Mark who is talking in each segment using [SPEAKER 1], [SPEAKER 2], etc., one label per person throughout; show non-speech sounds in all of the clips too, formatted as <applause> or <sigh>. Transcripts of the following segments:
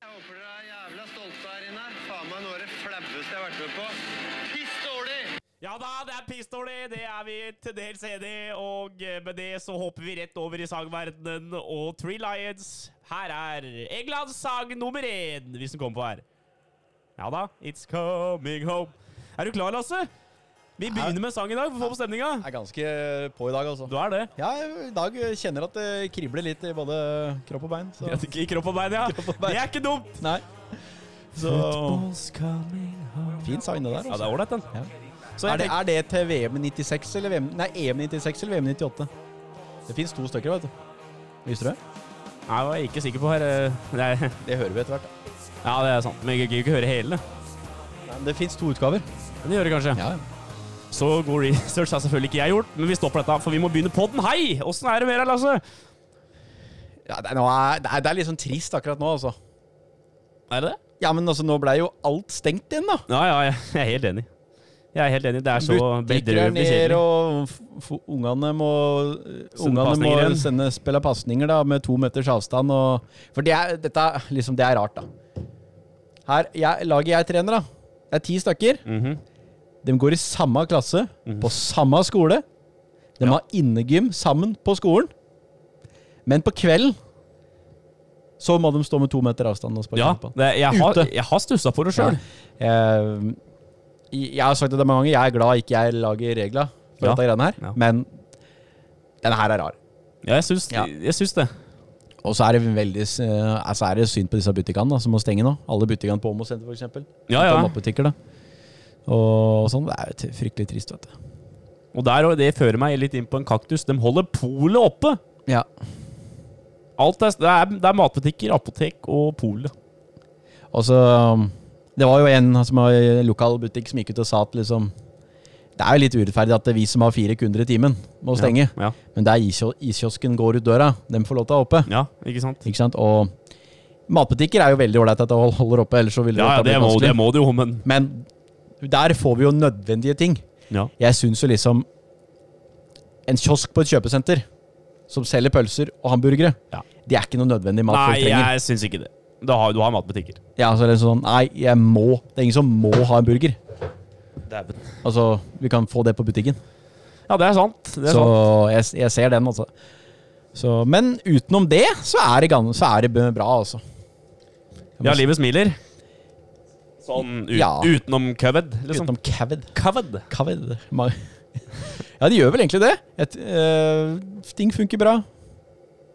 [SPEAKER 1] Håper dere er jævla stolte her inne. Faen meg noe av det flaueste jeg har vært med på. Piss dårlig!
[SPEAKER 2] Ja da, det er piss dårlig, det er vi til dels enig i. Og eh, med det så hopper vi rett over i sangverdenen og Three Lions. Her er Englands sang nummer én, hvis den kommer på her. Ja da, It's Coming Home. Er du klar, Lasse? Vi begynner med sang i dag for å få på stemninga.
[SPEAKER 3] Jeg er ganske på i dag, altså.
[SPEAKER 2] Du er det?
[SPEAKER 3] Ja, i dag kjenner at det kribler litt i både kropp og bein. Så.
[SPEAKER 2] I kropp og bein, ja.
[SPEAKER 3] Kropp og bein.
[SPEAKER 2] Det er ikke dumt.
[SPEAKER 3] Nei. Så Fin sang, det der.
[SPEAKER 2] Ja, det
[SPEAKER 3] Altså.
[SPEAKER 2] er ålreit, den.
[SPEAKER 3] Ja.
[SPEAKER 2] Så
[SPEAKER 3] Er,
[SPEAKER 2] jeg
[SPEAKER 3] det,
[SPEAKER 2] tenker,
[SPEAKER 3] er det til VM 96 eller VM Nei, EM 96 eller VM 98? Det fins to stykker, vet du. Visste du det?
[SPEAKER 2] Nei, jeg var ikke sikker på her. eh, Nei.
[SPEAKER 3] Det hører vi etter hvert. da.
[SPEAKER 2] Ja, det er sant. Men jeg gidder ikke høre hele.
[SPEAKER 3] Nei, men Det fins to utgaver.
[SPEAKER 2] Men det gjør det kanskje.
[SPEAKER 3] Ja,
[SPEAKER 2] Så god research har selvfølgelig ikke jeg gjort, men vi stopper dette, for vi må begynne podden. Hei! Åssen er det med deg, Lasse?
[SPEAKER 3] ja det, er, nå er- det, er, det er litt sånn trist akkurat nå, altså.
[SPEAKER 2] Er det det?
[SPEAKER 3] Ja, men altså, nå blei jo alt stengt igjen, da.
[SPEAKER 2] Ja, ja, jeg jeg er helt enig. Jeg er helt enig. Det er så
[SPEAKER 3] Butikker er
[SPEAKER 2] bedrøvelig
[SPEAKER 3] ned,
[SPEAKER 2] kjedelig.
[SPEAKER 3] og f- f- ungene må, ungene må
[SPEAKER 2] pasninger igjen.
[SPEAKER 3] sende, spille pasninger da, med to meters avstand. Og, for det er, dette, er- liksom, det er rart, da. Her, jeg, laget jeg trener, da. Det er ti stykker.
[SPEAKER 2] Mhm.
[SPEAKER 3] De går i samme klasse, på samme skole. De har innegym sammen på skolen. Men på kvelden så må de stå med to meter avstand og sparke
[SPEAKER 2] Ja,
[SPEAKER 3] fotball.
[SPEAKER 2] det, jeg har,
[SPEAKER 3] Ute.
[SPEAKER 2] jeg har stussa på det sjøl.
[SPEAKER 3] Eh, jeg har sagt det mange ganger, jeg er glad ikke jeg lager regler for
[SPEAKER 2] Ja.
[SPEAKER 3] dette greiene her,
[SPEAKER 2] Ja.
[SPEAKER 3] men denne her er rar.
[SPEAKER 2] Ja, jeg syns,
[SPEAKER 3] Ja.
[SPEAKER 2] jeg syns det.
[SPEAKER 3] Og så er det veldig s- eh, altså er det synd på disse butikkene da, som må stenge nå. Alle butikkene på Åmo senter, for eksempel.
[SPEAKER 2] Ja,
[SPEAKER 3] På
[SPEAKER 2] ja.
[SPEAKER 3] matbutikker, da. Og sånn. Det er jo t- fryktelig trist, vet du.
[SPEAKER 2] Og der, og det fører meg litt inn på en kaktus. De holder polet oppe.
[SPEAKER 3] Ja.
[SPEAKER 2] Alt er, det, er, det er matbutikker, apotek og pol.
[SPEAKER 3] Og så um, Det var jo en som har en lokal butikk som gikk ut og sa at liksom Det er jo litt urettferdig at det er vi som har fire kunder i timen, må stenge.
[SPEAKER 2] Ja,
[SPEAKER 3] Men der iskio- iskiosken går ut døra, dem får lov til å ha oppe.
[SPEAKER 2] ja. ja ikke sant?
[SPEAKER 3] Ikke sant? Og matbutikker er jo veldig ålreit at det hold- holder oppe, ellers så ville
[SPEAKER 2] Ja, ja,
[SPEAKER 3] dette blitt
[SPEAKER 2] det må, det
[SPEAKER 3] vanskelig.
[SPEAKER 2] må du jo, men
[SPEAKER 3] Men der får vi jo nødvendige ting.
[SPEAKER 2] ja.
[SPEAKER 3] Jeg syns jo liksom En kiosk på et kjøpesenter som selger pølser og hamburgere,
[SPEAKER 2] Ja.
[SPEAKER 3] det er ikke noe nødvendig mat folk
[SPEAKER 2] Nei,
[SPEAKER 3] trenger.
[SPEAKER 2] jeg syns ikke det. Du har, du har matbutikker.
[SPEAKER 3] Ja, så er det sånn, nei, jeg må Det er ingen som må ha en burger.
[SPEAKER 2] Dæven.
[SPEAKER 3] Altså, vi kan få det på butikken.
[SPEAKER 2] Ja, det er sant. Det er
[SPEAKER 3] Så
[SPEAKER 2] sant.
[SPEAKER 3] jeg, jeg ser den, altså. Så, men utenom det, så er det, gan- så er det bra, altså. Jeg må
[SPEAKER 2] Ja,
[SPEAKER 3] si-
[SPEAKER 2] livet smiler. Sånn ut,
[SPEAKER 3] Ja.
[SPEAKER 2] utenom covid, liksom.
[SPEAKER 3] Utenom Cavid.
[SPEAKER 2] Covid.
[SPEAKER 3] Covid. Ma- Ja, de gjør vel egentlig det. Et, eh, ting funker bra.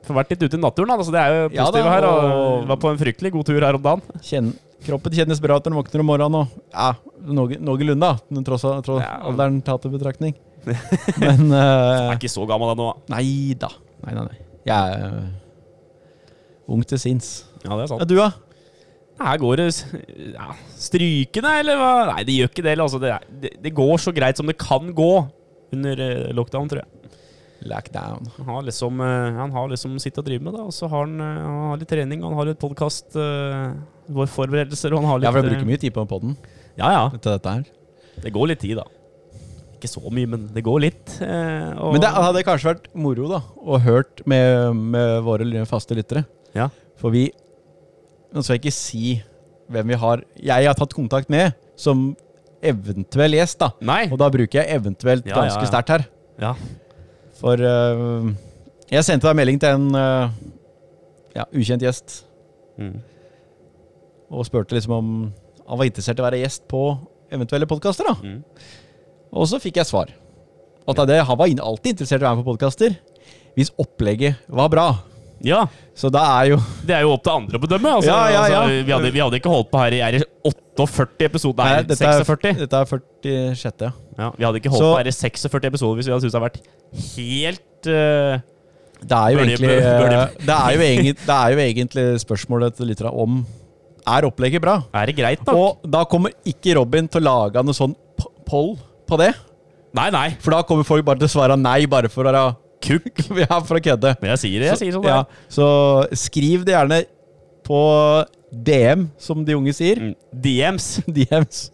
[SPEAKER 2] Får vært litt ute i naturen, da. Så det er jo
[SPEAKER 3] Ja
[SPEAKER 2] positive
[SPEAKER 3] da,
[SPEAKER 2] her.
[SPEAKER 3] og-
[SPEAKER 2] Og var på en fryktelig god tur her om dagen.
[SPEAKER 3] Kjenn, kroppen kjennes bra at den våkner om morgenen. Og, ja, noe- noenlunde, da. men Tross, tross
[SPEAKER 2] Ja.
[SPEAKER 3] alderen tatt i betraktning. Men
[SPEAKER 2] Jeg
[SPEAKER 3] eh,
[SPEAKER 2] er ikke så gammel ennå.
[SPEAKER 3] Nei da. Nei, nei, nei. Jeg er eh, ung til sinns.
[SPEAKER 2] Ja, det er
[SPEAKER 3] Ja,
[SPEAKER 2] sant.
[SPEAKER 3] du, da?
[SPEAKER 2] Her går det s- ja, strykende, eller hva? Nei, det gjør ikke det. eller, Altså, det, er- det, det går så greit som det kan gå under eh, lockdown, tror jeg.
[SPEAKER 3] Lackdown.
[SPEAKER 2] Han har liksom, eh, han har liksom sitt å drive med, da. Og så har han, eh, han har litt trening, han har litt podkast, våre forberedelser, og han har litt
[SPEAKER 3] Ja, for jeg
[SPEAKER 2] eh,
[SPEAKER 3] bruker mye tid på podden
[SPEAKER 2] Ja, ja.
[SPEAKER 3] til dette her.
[SPEAKER 2] Det går litt tid, da. Ikke så mye, men det går litt. eh, og,
[SPEAKER 3] Men det hadde kanskje vært moro, da, å hørt med, med våre faste lyttere.
[SPEAKER 2] Ja.
[SPEAKER 3] For vi Nå skal jeg ikke si hvem vi har Jeg har tatt kontakt med, som eventuell gjest, da.
[SPEAKER 2] Nei.
[SPEAKER 3] Og da bruker jeg eventuelt
[SPEAKER 2] Ja, ja,
[SPEAKER 3] ganske
[SPEAKER 2] ja.
[SPEAKER 3] sterkt her.
[SPEAKER 2] Ja.
[SPEAKER 3] For øh, jeg sendte deg en melding til en øh, ja, ukjent gjest
[SPEAKER 2] Mm.
[SPEAKER 3] og spurte liksom om han var interessert i å være gjest på eventuelle podkaster. da.
[SPEAKER 2] Mm.
[SPEAKER 3] Og så fikk jeg svar. At det, han var inn- alltid interessert i å være med på podkaster hvis opplegget var bra.
[SPEAKER 2] ja.
[SPEAKER 3] Så da er jo
[SPEAKER 2] Det er jo opp til andre å bedømme. Altså,
[SPEAKER 3] Ja, ja, ja.
[SPEAKER 2] Altså, vi, hadde, vi hadde ikke holdt på her i er det 48 episoder. Nei,
[SPEAKER 3] dette er-
[SPEAKER 2] 46.
[SPEAKER 3] Dette er 46. ja.
[SPEAKER 2] Ja, vi hadde ikke holdt
[SPEAKER 3] Så-
[SPEAKER 2] på her i 46 episoder hvis vi hadde syntes det hadde vært helt eh,
[SPEAKER 3] Det er jo
[SPEAKER 2] Bør de-
[SPEAKER 3] egentlig
[SPEAKER 2] bør- bør
[SPEAKER 3] eh,
[SPEAKER 2] de-
[SPEAKER 3] Det er jo egentlig, det er jo egentlig spørsmålet til lytterne om Er opplegget bra?
[SPEAKER 2] Er det greit nok?
[SPEAKER 3] Og da kommer ikke Robin til å lage noe sånn p- poll på det.
[SPEAKER 2] Nei, nei.
[SPEAKER 3] For da kommer folk bare til å svare nei, bare for å være <laughs>
[SPEAKER 2] Kukk.
[SPEAKER 3] ja, for å kødde.
[SPEAKER 2] Men jeg sier det. Jeg sier sånn.
[SPEAKER 3] ja,
[SPEAKER 2] Ja.
[SPEAKER 3] så skriv det gjerne på DM, som de unge sier. <laughs>
[SPEAKER 2] Mm. DMs.
[SPEAKER 3] DMs.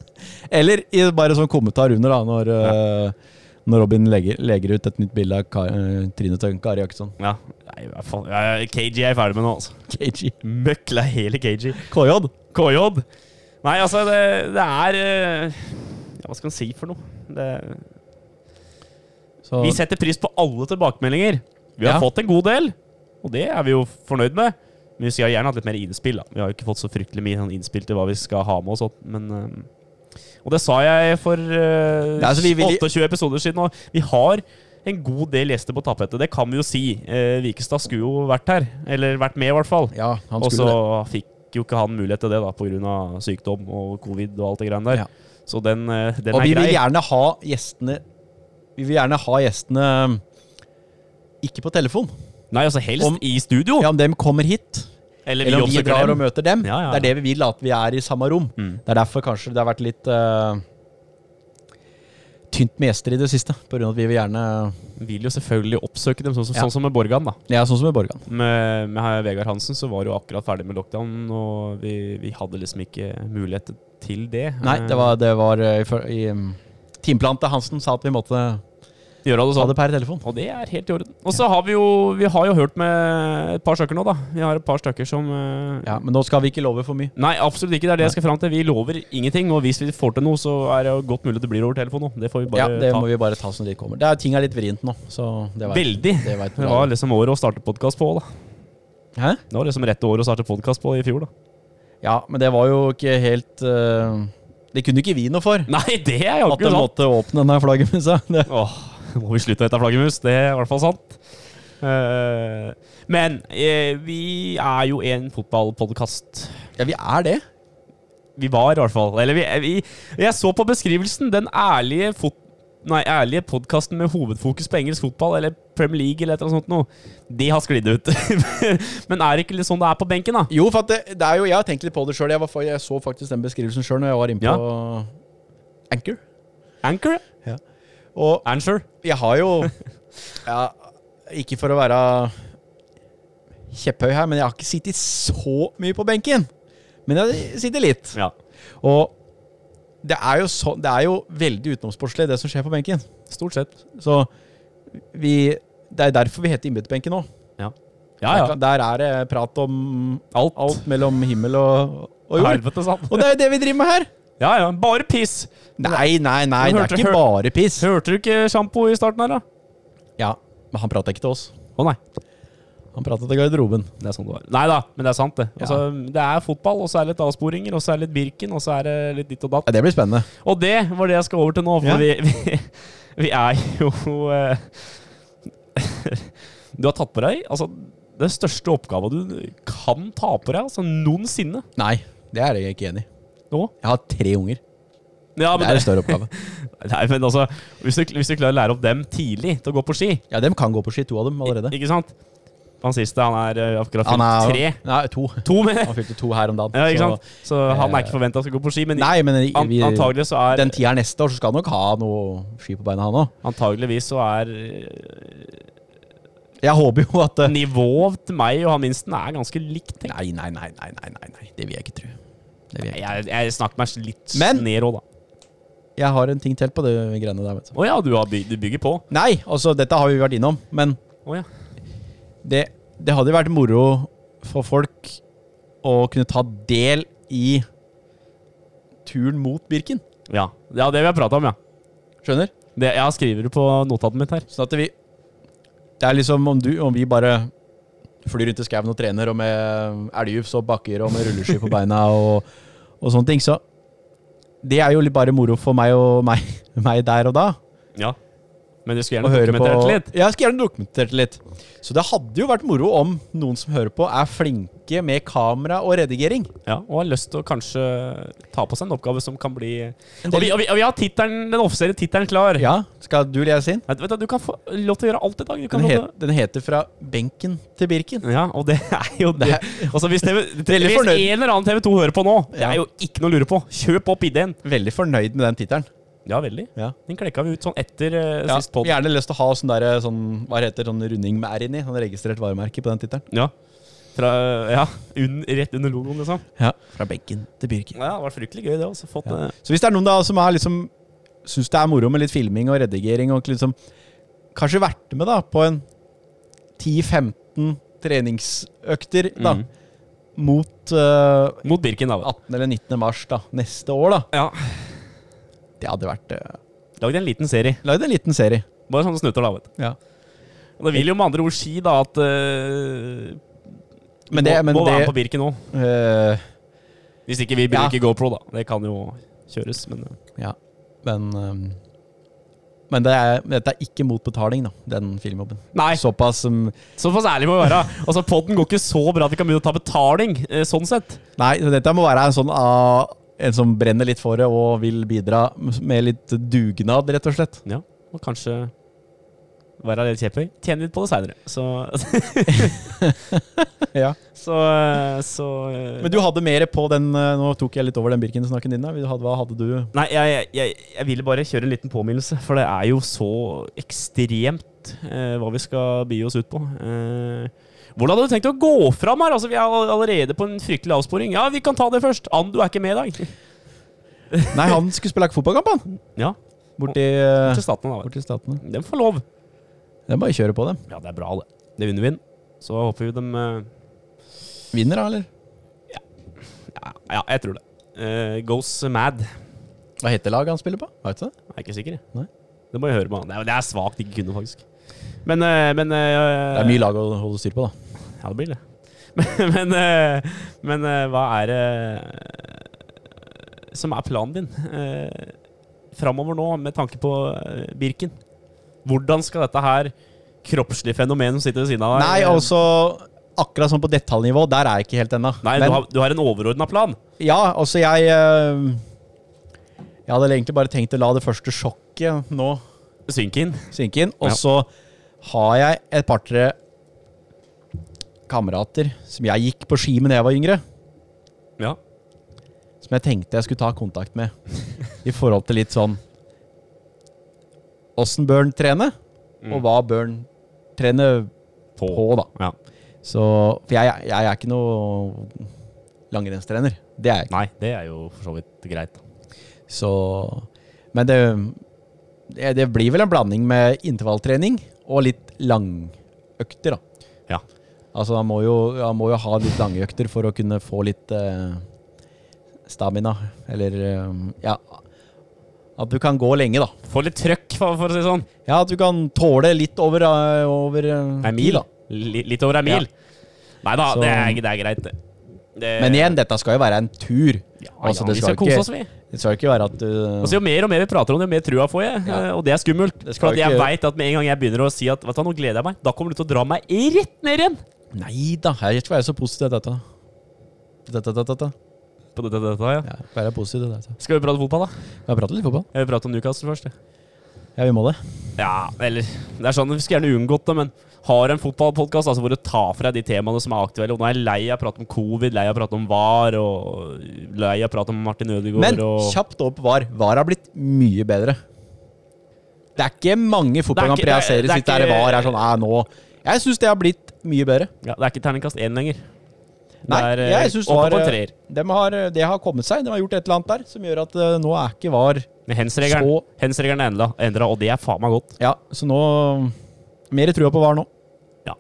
[SPEAKER 3] Eller i bare sånn kommentar under, da, når, eh, Når Robin legger, legger ut et nytt bilde av Ka- eh, Trine til Kari Jakkesson.
[SPEAKER 2] Ja. Nei, hva faen. Ja, ja, KG er jeg ferdig med nå, altså.
[SPEAKER 3] KG.
[SPEAKER 2] Møkla hele KG.
[SPEAKER 3] KJ.
[SPEAKER 2] KJ. Nei, altså, det, det er eh, Ja, hva skal en si for noe? Det,
[SPEAKER 3] Så
[SPEAKER 2] vi setter pris på alle tilbakemeldinger. Vi har
[SPEAKER 3] Ja.
[SPEAKER 2] fått en god del, og det er vi jo fornøyd med. Men vi skulle gjerne hatt litt mer innspill. da. Vi har jo ikke fått så fryktelig mye sånn innspill til hva vi skal ha med. Og sånt, men... eh, og det sa jeg for eh,
[SPEAKER 3] Nei, altså, vi vil-
[SPEAKER 2] 28 episoder siden. Og vi har en god del gjester på tapetet. Det kan vi jo si. Eh, Vikestad skulle jo vært her. Eller vært med, i hvert fall.
[SPEAKER 3] Ja, han
[SPEAKER 2] Og så
[SPEAKER 3] skulle det.
[SPEAKER 2] fikk jo ikke han mulighet til det da pga. sykdom og covid og alt det greiene der.
[SPEAKER 3] Ja.
[SPEAKER 2] Så den, eh, den
[SPEAKER 3] Og
[SPEAKER 2] er
[SPEAKER 3] vi
[SPEAKER 2] grei.
[SPEAKER 3] vil gjerne ha gjestene Vi vil gjerne ha gjestene um, ikke på telefon.
[SPEAKER 2] <laughs> Nei, altså helst
[SPEAKER 3] Om-
[SPEAKER 2] i studio.
[SPEAKER 3] Ja, Om dem kommer hit,
[SPEAKER 2] Eller,
[SPEAKER 3] eller om vi
[SPEAKER 2] oppsøker
[SPEAKER 3] drar
[SPEAKER 2] dem.
[SPEAKER 3] og møter dem.
[SPEAKER 2] Ja, ja,
[SPEAKER 3] Det er det vi vil at vi er i samme rom.
[SPEAKER 2] Mm.
[SPEAKER 3] Det er derfor kanskje det har vært litt eh, tynt med gjester i det siste. På grunn av at vi vil gjerne
[SPEAKER 2] Vil jo selvfølgelig oppsøke dem, sånn som,
[SPEAKER 3] Ja.
[SPEAKER 2] sånn som med Borgan, da.
[SPEAKER 3] Ja, sånn som med Borgan.
[SPEAKER 2] Med, med her Vegard Hansen så var det jo akkurat ferdig med lockdown, og vi, vi hadde liksom ikke mulighet til det.
[SPEAKER 3] Nei, det var, det var eh, i for- i um, Timeplanen til Hansen sa at vi måtte
[SPEAKER 2] Eh, Gjøre det
[SPEAKER 3] ta
[SPEAKER 2] sånn.
[SPEAKER 3] det per telefon.
[SPEAKER 2] Og det er helt i orden. Og så har vi jo Vi har jo hørt med et par stykker nå, da. Vi har et par stykker som eh,
[SPEAKER 3] Ja, Men nå skal vi ikke love for mye.
[SPEAKER 2] Nei, absolutt ikke. Det er det jeg skal fram til. Vi lover ingenting. Og hvis vi får til noe, så er det jo godt mulig at det blir over telefon nå. Det får vi bare
[SPEAKER 3] Ja, Det
[SPEAKER 2] ta.
[SPEAKER 3] må vi bare ta som de kommer. Det er, ting er litt vrient nå, så det vet
[SPEAKER 2] Veldig.
[SPEAKER 3] Det vet vi
[SPEAKER 2] Det
[SPEAKER 3] alle.
[SPEAKER 2] var liksom året å starte podkast på, da.
[SPEAKER 3] Hæ?
[SPEAKER 2] Det var liksom rette året å starte podkast på i fjor, da. <laughs>
[SPEAKER 3] Ja, men det var jo ikke helt eh, Det kunne ikke vi noe for.
[SPEAKER 2] Nei, det er jo
[SPEAKER 3] At de
[SPEAKER 2] ikke sant!
[SPEAKER 3] måtte åpne denne <laughs> flaggermusa. Det-
[SPEAKER 2] Åh, må vi slutte å hete flaggermus? Det er i hvert fall sant. Eh, men eh, vi er jo en fotballpodkast.
[SPEAKER 3] Ja, vi er det.
[SPEAKER 2] Vi var, i hvert fall. Eller vi, vi Jeg så på beskrivelsen. Den ærlige fot... Nei, ærlige podkasten med hovedfokus på engelsk fotball eller Premier League eller et eller annet sånt noe. De har sklidd ut. <laughs> Men er det ikke litt sånn det er på benken, da?
[SPEAKER 3] Jo, for at det, det er jo, jeg har tenkt litt på det sjøl. Jeg, var for- jeg så faktisk den beskrivelsen sjøl når jeg var inne på Anchor.
[SPEAKER 2] Anchor?
[SPEAKER 3] Og
[SPEAKER 2] Anchor?
[SPEAKER 3] jeg har
[SPEAKER 2] <laughs>
[SPEAKER 3] jo ja, Ikke for å være kjepphøy her, men jeg har ikke sittet så mye på benken. Men jeg sitter litt.
[SPEAKER 2] Ja.
[SPEAKER 3] Og det er jo, så, det er jo veldig utenomsportslig, det som skjer på benken.
[SPEAKER 2] Stort sett.
[SPEAKER 3] Så vi Det er derfor vi heter Innbytterbenken nå.
[SPEAKER 2] Ja. Ja, ja.
[SPEAKER 3] Der, kan- der er det prat om
[SPEAKER 2] Alt.
[SPEAKER 3] alt mellom himmel og, og jord.
[SPEAKER 2] Helvete sant.
[SPEAKER 3] Og det er jo det vi driver med her!
[SPEAKER 2] Ja, ja. Bare piss.
[SPEAKER 3] Nei, nei, nei,
[SPEAKER 2] Men
[SPEAKER 3] det
[SPEAKER 2] hørte-
[SPEAKER 3] er ikke
[SPEAKER 2] hør-
[SPEAKER 3] bare piss.
[SPEAKER 2] Hørte du ikke sjampo i starten her, da?
[SPEAKER 3] Ja, Men han prata ikke til oss.
[SPEAKER 2] Å nei.
[SPEAKER 3] Han prata til garderoben.
[SPEAKER 2] Det er sånn det var. Nei da, men det er sant, det. Altså, Det er fotball, og så er det litt avsporinger, og så er det litt Birken, og så er det litt ditt og datt.
[SPEAKER 3] Ja, det blir spennende.
[SPEAKER 2] Og det var det jeg skal over til nå, for
[SPEAKER 3] Ja.
[SPEAKER 2] vi, vi, vi er jo eh, <laughs> Du har tatt på deg altså, den største oppgaven du kan ta på deg altså, noensinne.
[SPEAKER 3] Nei, det er jeg ikke enig i.
[SPEAKER 2] Nå.
[SPEAKER 3] Jeg har tre unger.
[SPEAKER 2] Ja, men,
[SPEAKER 3] Det er en større oppgave.
[SPEAKER 2] <laughs> nei, men altså, hvis du, hvis du klarer å lære opp dem tidlig til å gå på ski,
[SPEAKER 3] Ja, dem kan gå på ski, to av dem allerede.
[SPEAKER 2] ikke sant Han siste, han er eh, akkurat fylt tre.
[SPEAKER 3] Nei, to.
[SPEAKER 2] To, mener jeg.
[SPEAKER 3] Han fylte to her om
[SPEAKER 2] <laughs>
[SPEAKER 3] dagen.
[SPEAKER 2] Ja, ikke
[SPEAKER 3] så-
[SPEAKER 2] sant? Så han er
[SPEAKER 3] eh,
[SPEAKER 2] ikke forventa å gå på ski, men
[SPEAKER 3] Nei, men i-
[SPEAKER 2] an,
[SPEAKER 3] vi,
[SPEAKER 2] antagelig så er
[SPEAKER 3] den tieren neste år så skal han nok ha noe ski på beina, han òg.
[SPEAKER 2] Antageligvis så er eh,
[SPEAKER 3] Jeg håper jo at eh,
[SPEAKER 2] nivået til meg og han minsten er ganske likt. tenker jeg.
[SPEAKER 3] Nei, nei, nei, nei, nei, nei, nei. Det vil jeg ikke tro. Det vil jeg, ikke.
[SPEAKER 2] Jeg, jeg snakker meg litt
[SPEAKER 3] Men-
[SPEAKER 2] ned òg, da.
[SPEAKER 3] jeg har en ting til på det greiene der, vet du.
[SPEAKER 2] Å ja, du, har by, du bygger på?
[SPEAKER 3] Nei, altså, dette har vi vært innom, men
[SPEAKER 2] Å ja.
[SPEAKER 3] det, det hadde jo vært moro for folk å kunne ta del i turen mot Birken.
[SPEAKER 2] ja. Ja, det vil jeg prate om, ja.
[SPEAKER 3] Skjønner?
[SPEAKER 2] Det, jeg skriver det på notatet mitt her.
[SPEAKER 3] Sånn at vi Det er liksom om du Om vi bare flyr rundt i skauen og trener, og med elgjufs og bakker og med rulleski på beina og, og sånne ting, så Det er jo litt bare moro for meg og meg, <laughs> meg der og da.
[SPEAKER 2] Ja. Men du skulle
[SPEAKER 3] å
[SPEAKER 2] gjerne
[SPEAKER 3] høre på.
[SPEAKER 2] dokumentert litt.
[SPEAKER 3] Ja, Jeg skulle gjerne dokumentert det litt. Så det hadde jo vært moro om noen som hører på, er flinke med kamera og redigering.
[SPEAKER 2] Ja, og har lyst til å kanskje ta på seg en oppgave som kan bli
[SPEAKER 3] En
[SPEAKER 2] Og
[SPEAKER 3] del-
[SPEAKER 2] vi, og vi, og vi har tittelen, den offisielle tittelen klar.
[SPEAKER 3] Ja, Skal du lese inn?
[SPEAKER 2] Vet, vet du, du kan få lov til å gjøre alt i dag. Du kan
[SPEAKER 3] Den,
[SPEAKER 2] lov
[SPEAKER 3] het,
[SPEAKER 2] til å-
[SPEAKER 3] den heter 'Fra benken til Birken'.
[SPEAKER 2] Ja, og det er jo det. Altså, hvis, TV,
[SPEAKER 3] <laughs> Veldig
[SPEAKER 2] hvis en
[SPEAKER 3] fornøyd.
[SPEAKER 2] eller annen TV2 hører på nå, det
[SPEAKER 3] Ja.
[SPEAKER 2] er jo ikke noe å lure på. Kjøp opp ideen.
[SPEAKER 3] Veldig fornøyd med den tittelen.
[SPEAKER 2] Ja, veldig.
[SPEAKER 3] Ja.
[SPEAKER 2] Den klekka vi ut sånn etter eh,
[SPEAKER 3] Ja,
[SPEAKER 2] sist pod.
[SPEAKER 3] gjerne lyst til å ha sånn der, sånn, hva heter sånn runding med R inni. Sånn registrert varemerke på den tittelen.
[SPEAKER 2] Ja. Fra, ja un, rett under logoen, liksom.
[SPEAKER 3] Ja. Fra benken til Birken.
[SPEAKER 2] Ja, det var fryktelig gøy, det. Også. Fått, eh,
[SPEAKER 3] Så hvis det er noen da som er liksom syns det er moro med litt filming og redigering og liksom Kanskje vært med da på en 10-15 treningsøkter da
[SPEAKER 2] Mhm.
[SPEAKER 3] mot eh,
[SPEAKER 2] Mot Birken, da.
[SPEAKER 3] 18. eller 19. mars da, neste år. da
[SPEAKER 2] Ja.
[SPEAKER 3] Det hadde vært uh,
[SPEAKER 2] Lagd en liten serie.
[SPEAKER 3] Lagd en liten serie.
[SPEAKER 2] Bare sånne snutter, da. vet du.
[SPEAKER 3] Ja.
[SPEAKER 2] Og Det vil jo med andre ord si da at eh,
[SPEAKER 3] Men det,
[SPEAKER 2] må,
[SPEAKER 3] men
[SPEAKER 2] må være med
[SPEAKER 3] det
[SPEAKER 2] på Birken òg.
[SPEAKER 3] eh,
[SPEAKER 2] Hvis ikke vi
[SPEAKER 3] Ja.
[SPEAKER 2] bruker GoPro, da. Det kan jo kjøres, men eh.
[SPEAKER 3] Ja, men ehm, Men det er, dette er ikke mot betaling, da, den filmjobben.
[SPEAKER 2] Nei,
[SPEAKER 3] Såpass som
[SPEAKER 2] såpass ærlig må vi være. Altså, Podden går ikke så bra at vi kan begynne å ta betaling, eh, sånn sett.
[SPEAKER 3] Nei, dette må være en sånn ah, En som brenner litt for det og vil bidra med litt dugnad, rett
[SPEAKER 2] <laughs>
[SPEAKER 3] og slett.
[SPEAKER 2] Ja, og kanskje være litt kjepphøy. Tjene litt på det seinere. Så, <laughs>
[SPEAKER 3] Ja.
[SPEAKER 2] så, eh, så eh,
[SPEAKER 3] Men du hadde mer på den eh, Nå tok jeg litt over den Birken-snakken din. da Du hadde- Hva hadde du?
[SPEAKER 2] Nei, jeg, jeg- jeg, jeg ville bare kjøre en liten påminnelse, for det er jo så ekstremt eh, hva vi skal by oss ut på. Eh, hvordan hadde du tenkt å gå fram her? Altså, vi er all- allerede på en fryktelig avsporing. Ja, vi kan ta det først. Ann, du er ikke med i dag. <laughs>
[SPEAKER 3] Nei, han skulle spille fotballkamp, han!
[SPEAKER 2] Ja,
[SPEAKER 3] Borti,
[SPEAKER 2] til
[SPEAKER 3] eh,
[SPEAKER 2] staten da. vet
[SPEAKER 3] borti Statene.
[SPEAKER 2] du. Den får lov.
[SPEAKER 3] Det er bare å kjøre på dem.
[SPEAKER 2] Ja, det er bra, det. Det vinner vi. Så håper vi dem eh,
[SPEAKER 3] Vinner, da, eller?
[SPEAKER 2] ja, ja, jeg tror det. Eh, goes mad.
[SPEAKER 3] Hva heter laget han spiller på? Vet du det?
[SPEAKER 2] Jeg er ikke sikker, jeg.
[SPEAKER 3] Nei.
[SPEAKER 2] Det må jeg høre med han. Det er- Det er svakt ikke kunne, faktisk. Men, eh, men
[SPEAKER 3] Det er mye lag å holde styr på, da.
[SPEAKER 2] Ja, det <laughs> blir det. Men, men, eh, men eh, hva er det eh, som er planen din eh, framover nå, med tanke på eh, Birken? Hvordan skal dette her kroppslige fenomenet som sitter ved siden av deg
[SPEAKER 3] Nei,
[SPEAKER 2] eh,
[SPEAKER 3] altså Akkurat sånn på detaljnivå, der er jeg ikke helt ennå.
[SPEAKER 2] Nei, du, har, du har en overordna plan?
[SPEAKER 3] Ja, altså jeg eh, Jeg hadde egentlig bare tenkt å la det første sjokket nå
[SPEAKER 2] Synk inn.
[SPEAKER 3] synke inn. Og
[SPEAKER 2] Ja.
[SPEAKER 3] så har jeg et par-tre kamerater som jeg gikk på ski med da jeg var yngre,
[SPEAKER 2] Ja.
[SPEAKER 3] som jeg tenkte jeg skulle ta kontakt med. I forhold til litt sånn Åssen bør han trene,
[SPEAKER 2] Mm.
[SPEAKER 3] og hva bør han trene på, da.
[SPEAKER 2] ja.
[SPEAKER 3] Så For jeg, jeg er ikke noe langrennstrener. Det er jeg ikke.
[SPEAKER 2] Nei, det er jo for så vidt greit.
[SPEAKER 3] Så Men det, det, det blir vel en blanding med intervalltrening og litt langøkter, da.
[SPEAKER 2] Ja.
[SPEAKER 3] Altså, han må jo, han må jo ha litt langøkter for å kunne få litt eh, stamina, eller eh, Ja. At du kan gå lenge, da.
[SPEAKER 2] Få litt trøkk, for, for å si det sånn.
[SPEAKER 3] Ja, at du kan tåle litt over, eh, over eh,
[SPEAKER 2] Ei mil.
[SPEAKER 3] tid, da.
[SPEAKER 2] Li, litt over ei mil. Nei da,
[SPEAKER 3] Så-
[SPEAKER 2] det, er, det er greit, det. Det-
[SPEAKER 3] Men igjen, dette skal jo være en tur.
[SPEAKER 2] ja,
[SPEAKER 3] altså,
[SPEAKER 2] ja,
[SPEAKER 3] det
[SPEAKER 2] vi skal
[SPEAKER 3] skal
[SPEAKER 2] kose
[SPEAKER 3] ikke-
[SPEAKER 2] oss, vi.
[SPEAKER 3] Det skal jo ikke være at eh, du
[SPEAKER 2] Altså, jo mer og mer vi prater om det, jo mer trua får jeg.
[SPEAKER 3] Ja.
[SPEAKER 2] eh, Og det er skummelt.
[SPEAKER 3] Det skal
[SPEAKER 2] for at jeg
[SPEAKER 3] ikke-
[SPEAKER 2] vet at med en gang jeg begynner å si at vet du, hva, nå gleder jeg meg, da kommer du til å dra meg rett ned igjen.
[SPEAKER 3] Nei da, jeg skal være så positiv til dette. Dette, dette, dette.
[SPEAKER 2] På dette, dette, ja.
[SPEAKER 3] Ja, være positiv til dette.
[SPEAKER 2] Skal vi prate fotball, da?
[SPEAKER 3] Vi har pratet litt fotball.
[SPEAKER 2] Jeg vil prate om Newcastle først. jeg.
[SPEAKER 3] Ja, vi må det.
[SPEAKER 2] Ja, eller Det er sånn, Vi skulle gjerne unngått det, men har en fotballpodkast altså, hvor du tar fra deg de temaene som er aktuelle. Og nå er jeg lei av å prate om covid, lei av å prate om VAR, og lei av å prate om Martin Ødegaard
[SPEAKER 3] Men
[SPEAKER 2] og
[SPEAKER 3] kjapt over på VAR. VAR har blitt mye bedre. Det er ikke mange
[SPEAKER 2] Det er
[SPEAKER 3] fotballkamper
[SPEAKER 2] ikke-
[SPEAKER 3] jeg ser
[SPEAKER 2] det er-
[SPEAKER 3] i sitt
[SPEAKER 2] det er
[SPEAKER 3] der
[SPEAKER 2] ikke-
[SPEAKER 3] VAR er sånn Nei, nå Jeg syns det har blitt mye bedre.
[SPEAKER 2] ja, Det er ikke terningkast én lenger.
[SPEAKER 3] Nei,
[SPEAKER 2] det er, eh,
[SPEAKER 3] jeg syns
[SPEAKER 2] oppe
[SPEAKER 3] VAR
[SPEAKER 2] på en
[SPEAKER 3] eh,
[SPEAKER 2] treer.
[SPEAKER 3] dem har, Det har kommet seg. De har gjort et eller annet der som gjør at eh, nå er ikke VAR
[SPEAKER 2] Men Hens-regelen
[SPEAKER 3] Så-
[SPEAKER 2] hens er endla- endra, og det er faen meg godt.
[SPEAKER 3] Ja, så nå Mer trua på VAR nå.
[SPEAKER 2] Ja.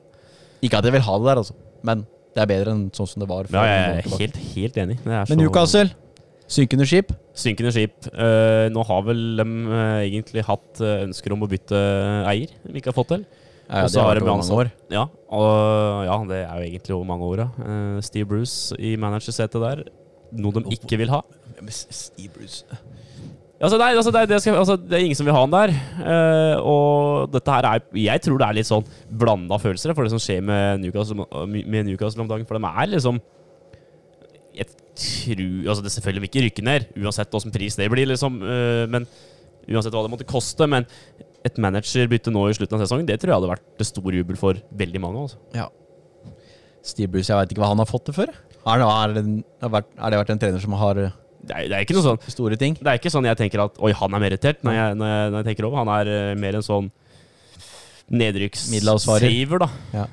[SPEAKER 3] Ikke at jeg vil ha det der, altså, men det er bedre enn sånn som det var. for
[SPEAKER 2] Ja, jeg
[SPEAKER 3] noen år
[SPEAKER 2] er
[SPEAKER 3] tilbake.
[SPEAKER 2] helt, helt enig. Det er så-
[SPEAKER 3] Men Newcastle, synkende skip.
[SPEAKER 2] Synkende skip. Eh, nå har vel de egentlig hatt eh, ønsker om å bytte eh, eier, vi ikke har fått til.
[SPEAKER 3] Ja,
[SPEAKER 2] Og så har de
[SPEAKER 3] vært over
[SPEAKER 2] ansatt-
[SPEAKER 3] mange år.
[SPEAKER 2] Ja, og, ja det er jo egentlig over mange år, ja. Eh, Steve Bruce i managersetet der. Noe de ikke vil ha.
[SPEAKER 3] Steve Bruce.
[SPEAKER 2] Altså, nei, altså, det, er- det, skal, altså, det er ingen som vil ha han der. Eh, og dette her er Jeg tror det er litt sånn blanda følelser for det som skjer med Newcastle, med Newcastle om dagen. For de er liksom Jeg tror Altså, det selvfølgelig vil ikke rykke ned, uansett hvilken pris det blir, liksom. eh, men Uansett hva det måtte koste. Men et managerbytte nå i slutten av sesongen, det tror jeg hadde vært det stor jubel for veldig mange. Altså.
[SPEAKER 3] Ja. Steve Bruce, jeg veit ikke hva han har fått det for. Har, han- er det, en- har vært, er det vært en trener som har eh,
[SPEAKER 2] Det, er, det er ikke noe sånn
[SPEAKER 3] store ting?
[SPEAKER 2] Det er ikke sånn jeg tenker at Oi, han er mer irritert når jeg, når jeg, når jeg tenker over. Han er eh, mer en sånn
[SPEAKER 3] Middelavsvarer.
[SPEAKER 2] nedrykkssaver, da.
[SPEAKER 3] Ja.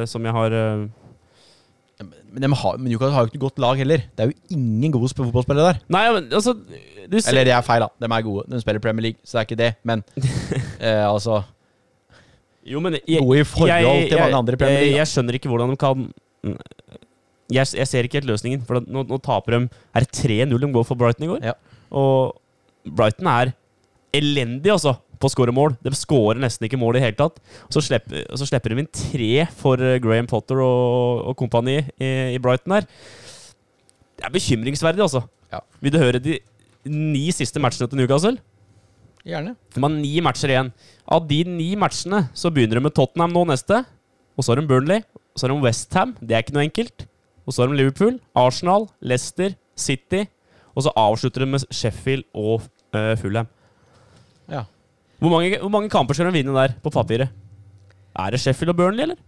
[SPEAKER 2] Eh, som jeg har eh,
[SPEAKER 3] Men, de har, men Newcastle har jo ikke noe godt lag heller. Det er jo ingen gode sp- fotballspillere der.
[SPEAKER 2] Nei, men altså du ser,
[SPEAKER 3] Eller det er feil, da. De er gode. De spiller Premier League, så det er ikke det. <laughs> Men eh, altså
[SPEAKER 2] Jo, men jeg,
[SPEAKER 3] Gode i forhold til mange andre i Premier
[SPEAKER 2] jeg,
[SPEAKER 3] League.
[SPEAKER 2] jeg skjønner ikke hvordan de kan mm, jeg, jeg ser ikke helt løsningen. For nå, nå taper de Er det 3-0 de går for Brighton i går?
[SPEAKER 3] Ja.
[SPEAKER 2] Og Brighton er elendig, altså, på å skåre mål. De skårer nesten ikke mål i det hele tatt. Og så slipper, og så slipper de inn tre for eh, Graham Potter og, og kompani i, i Brighton her. Det er bekymringsverdig, altså.
[SPEAKER 3] Ja.
[SPEAKER 2] Vil du høre de ni siste matchene til Newcastle?
[SPEAKER 3] Gjerne.
[SPEAKER 2] De har ni matcher igjen. Av de ni matchene så begynner de med Tottenham nå neste. Og så har de Burnley. Og så har de Westham. Det er ikke noe enkelt. Og så har de Liverpool, Arsenal, Leicester, City. Og så avslutter de med Sheffield og eh, Fulham.
[SPEAKER 3] Ja.
[SPEAKER 2] Hvor mange, hvor mange kamper skal de vinne der, på papiret? Er det Sheffield og Burnley, eller?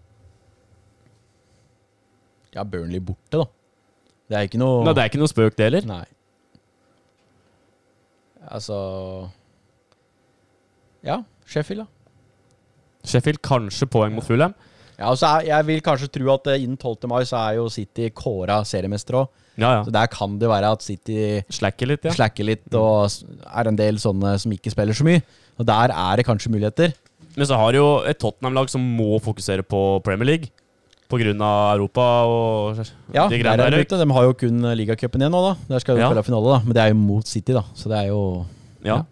[SPEAKER 3] ja, Burnley borte, da. Det er ikke noe
[SPEAKER 2] Nei, det er ikke noe spøk, det heller.
[SPEAKER 3] Nei. Altså Ja, Sheffield, da.
[SPEAKER 2] Sheffield kanskje poeng mot Fulham.
[SPEAKER 3] Ja, og så er, jeg vil kanskje tro at eh, innen 12. mai så er jo City kåra seriemester òg.
[SPEAKER 2] Ja,
[SPEAKER 3] Så
[SPEAKER 2] ja.
[SPEAKER 3] der kan det være at City
[SPEAKER 2] Slacker litt, ja.
[SPEAKER 3] slacker litt, og s- er en del sånne som ikke spiller så mye. Og der er det kanskje muligheter.
[SPEAKER 2] Men så har du jo et Tottenham-lag som må fokusere på Premier League. På grunn av Europa og
[SPEAKER 3] Ja,
[SPEAKER 2] de
[SPEAKER 3] der
[SPEAKER 2] greiene
[SPEAKER 3] er
[SPEAKER 2] der.
[SPEAKER 3] de, ute. de har jo kun ligacupen igjen nå, da. Der skal jo
[SPEAKER 2] Ja.
[SPEAKER 3] spille finale, da. Men det er jo mot City, da. Så det er jo
[SPEAKER 2] Ja.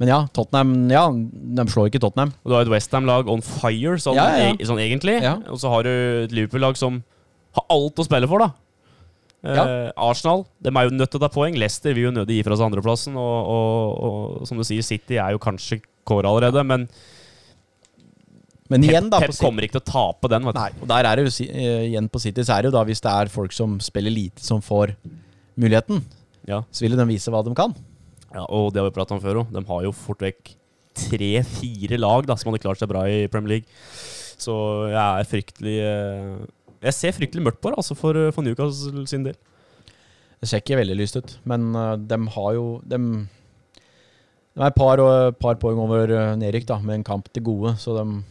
[SPEAKER 3] Men ja, Tottenham Ja, de slår ikke Tottenham.
[SPEAKER 2] Og du har et Westham-lag on fire, sånn,
[SPEAKER 3] Ja, ja, ja.
[SPEAKER 2] e- sånn egentlig.
[SPEAKER 3] Ja.
[SPEAKER 2] Og så har du et Liverpool-lag som har alt å spille for, da. Eh, Arsenal de er jo nødt til å ta poeng. Leicester vil jo nødig gi fra seg andreplassen. Og, og, og som du sier, City er jo kanskje kåra allerede, men
[SPEAKER 3] Men igjen, da.
[SPEAKER 2] Pep
[SPEAKER 3] på City-
[SPEAKER 2] kommer ikke til å tape den. Vet du.
[SPEAKER 3] Nei, og der er det jo si- eh, igjen på City, så er det jo da hvis det er folk som spiller lite, som får muligheten,
[SPEAKER 2] Ja.
[SPEAKER 3] så vil jo de vise hva de kan.
[SPEAKER 2] Ja, og det har vi pratet om før òg. De har jo fort vekk tre-fire lag da, som hadde klart seg bra i Premier League. Så jeg er fryktelig eh, Jeg ser fryktelig mørkt på det, altså, for, for Newcastle sin del.
[SPEAKER 3] Det ser ikke veldig lyst ut, men eh, de har jo De, de er et par, og- par poeng over eh, nedrykk, da, med en kamp til gode, så de,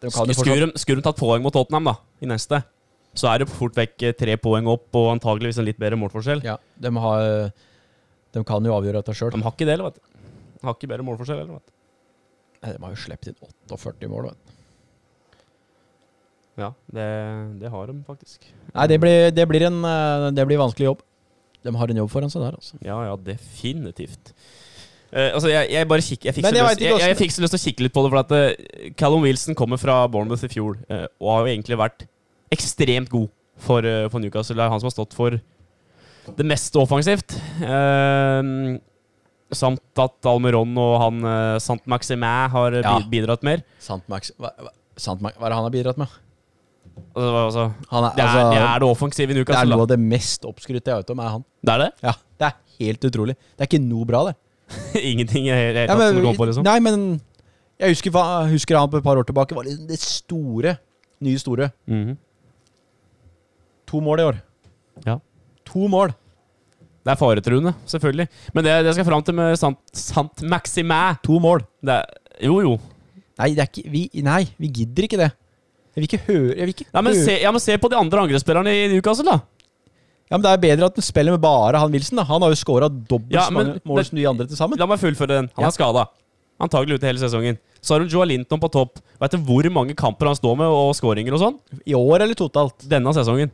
[SPEAKER 3] de kan jo fortsatt
[SPEAKER 2] Skulle de- skulle de tatt poeng mot Tottenham da, i neste, så er det fort vekk eh, tre poeng opp og antageligvis en litt bedre målforskjell.
[SPEAKER 3] ja, de, har, de kan jo avgjøre dette sjøl.
[SPEAKER 2] De har ikke det, eller, vet du. De har ikke bedre målforskjell, eller, vet du.
[SPEAKER 3] De har jo sluppet inn 48 mål. Vet. du.
[SPEAKER 2] Ja, det, det har de faktisk.
[SPEAKER 3] Nei, det blir, det, blir en, eh, det blir vanskelig jobb. De har en jobb foran seg der, altså.
[SPEAKER 2] Ja, ja, definitivt. Eh, altså, jeg, jeg bare kikker Jeg fikk så
[SPEAKER 3] Men jeg vet
[SPEAKER 2] lyst, jeg,
[SPEAKER 3] ikke
[SPEAKER 2] jeg
[SPEAKER 3] hvordan-
[SPEAKER 2] fikk så lyst til å kikke litt på det, for at eh, Callum Wilson kommer fra Bournemouth i fjor, eh, og har jo egentlig vært ekstremt god for, eh, for Newcastle. Det er han som har stått for det meste offensivt. Eh, samt at Almiron og han uh, Saint-Maximin har eh,
[SPEAKER 3] Ja.
[SPEAKER 2] bi- bidratt mer.
[SPEAKER 3] Sant Max, hva, hva, Sant Max, hva er det han har bidratt med?
[SPEAKER 2] Altså, altså,
[SPEAKER 3] Han er,
[SPEAKER 2] det, er,
[SPEAKER 3] altså,
[SPEAKER 2] det er det offensive i
[SPEAKER 3] Det er
[SPEAKER 2] Newcastle.
[SPEAKER 3] noe
[SPEAKER 2] da.
[SPEAKER 3] av det mest oppskrytte jeg vet om, er han.
[SPEAKER 2] Det er det?
[SPEAKER 3] Ja, Det er helt utrolig. Det er ikke noe bra, det.
[SPEAKER 2] Ingenting i det <laughs> hele
[SPEAKER 3] Ja,
[SPEAKER 2] tatt som du kommer på, liksom.
[SPEAKER 3] Nei, men jeg husker, hva- husker han på et par år tilbake. var liksom Det store. Nye store.
[SPEAKER 2] Mhm.
[SPEAKER 3] To mål i år.
[SPEAKER 2] Ja.
[SPEAKER 3] To mål.
[SPEAKER 2] Det er faretruende, selvfølgelig. Men det, det skal jeg fram til med sant, sant maximæ.
[SPEAKER 3] To mål.
[SPEAKER 2] Det er, jo, jo.
[SPEAKER 3] Nei, det er ikke, vi, nei, vi gidder ikke det. Jeg vil ikke høre jeg vil ikke
[SPEAKER 2] Ja, men
[SPEAKER 3] høre-
[SPEAKER 2] se, ja, men se på de andre angrepsspillerne i Newcastle, da.
[SPEAKER 3] ja, men Det er bedre at den spiller med bare han Wilson. da Han har jo scora dobbelt
[SPEAKER 2] Ja,
[SPEAKER 3] så
[SPEAKER 2] men
[SPEAKER 3] mange mål
[SPEAKER 2] det-
[SPEAKER 3] som de andre til sammen.
[SPEAKER 2] La meg fullføre den. Han
[SPEAKER 3] Ja.
[SPEAKER 2] er skada. Antagelig ute hele sesongen. Så har hun Joa Linton på topp. Vet du hvor mange kamper han står med, og skåringer og sånn?
[SPEAKER 3] I år eller totalt.
[SPEAKER 2] Denne sesongen.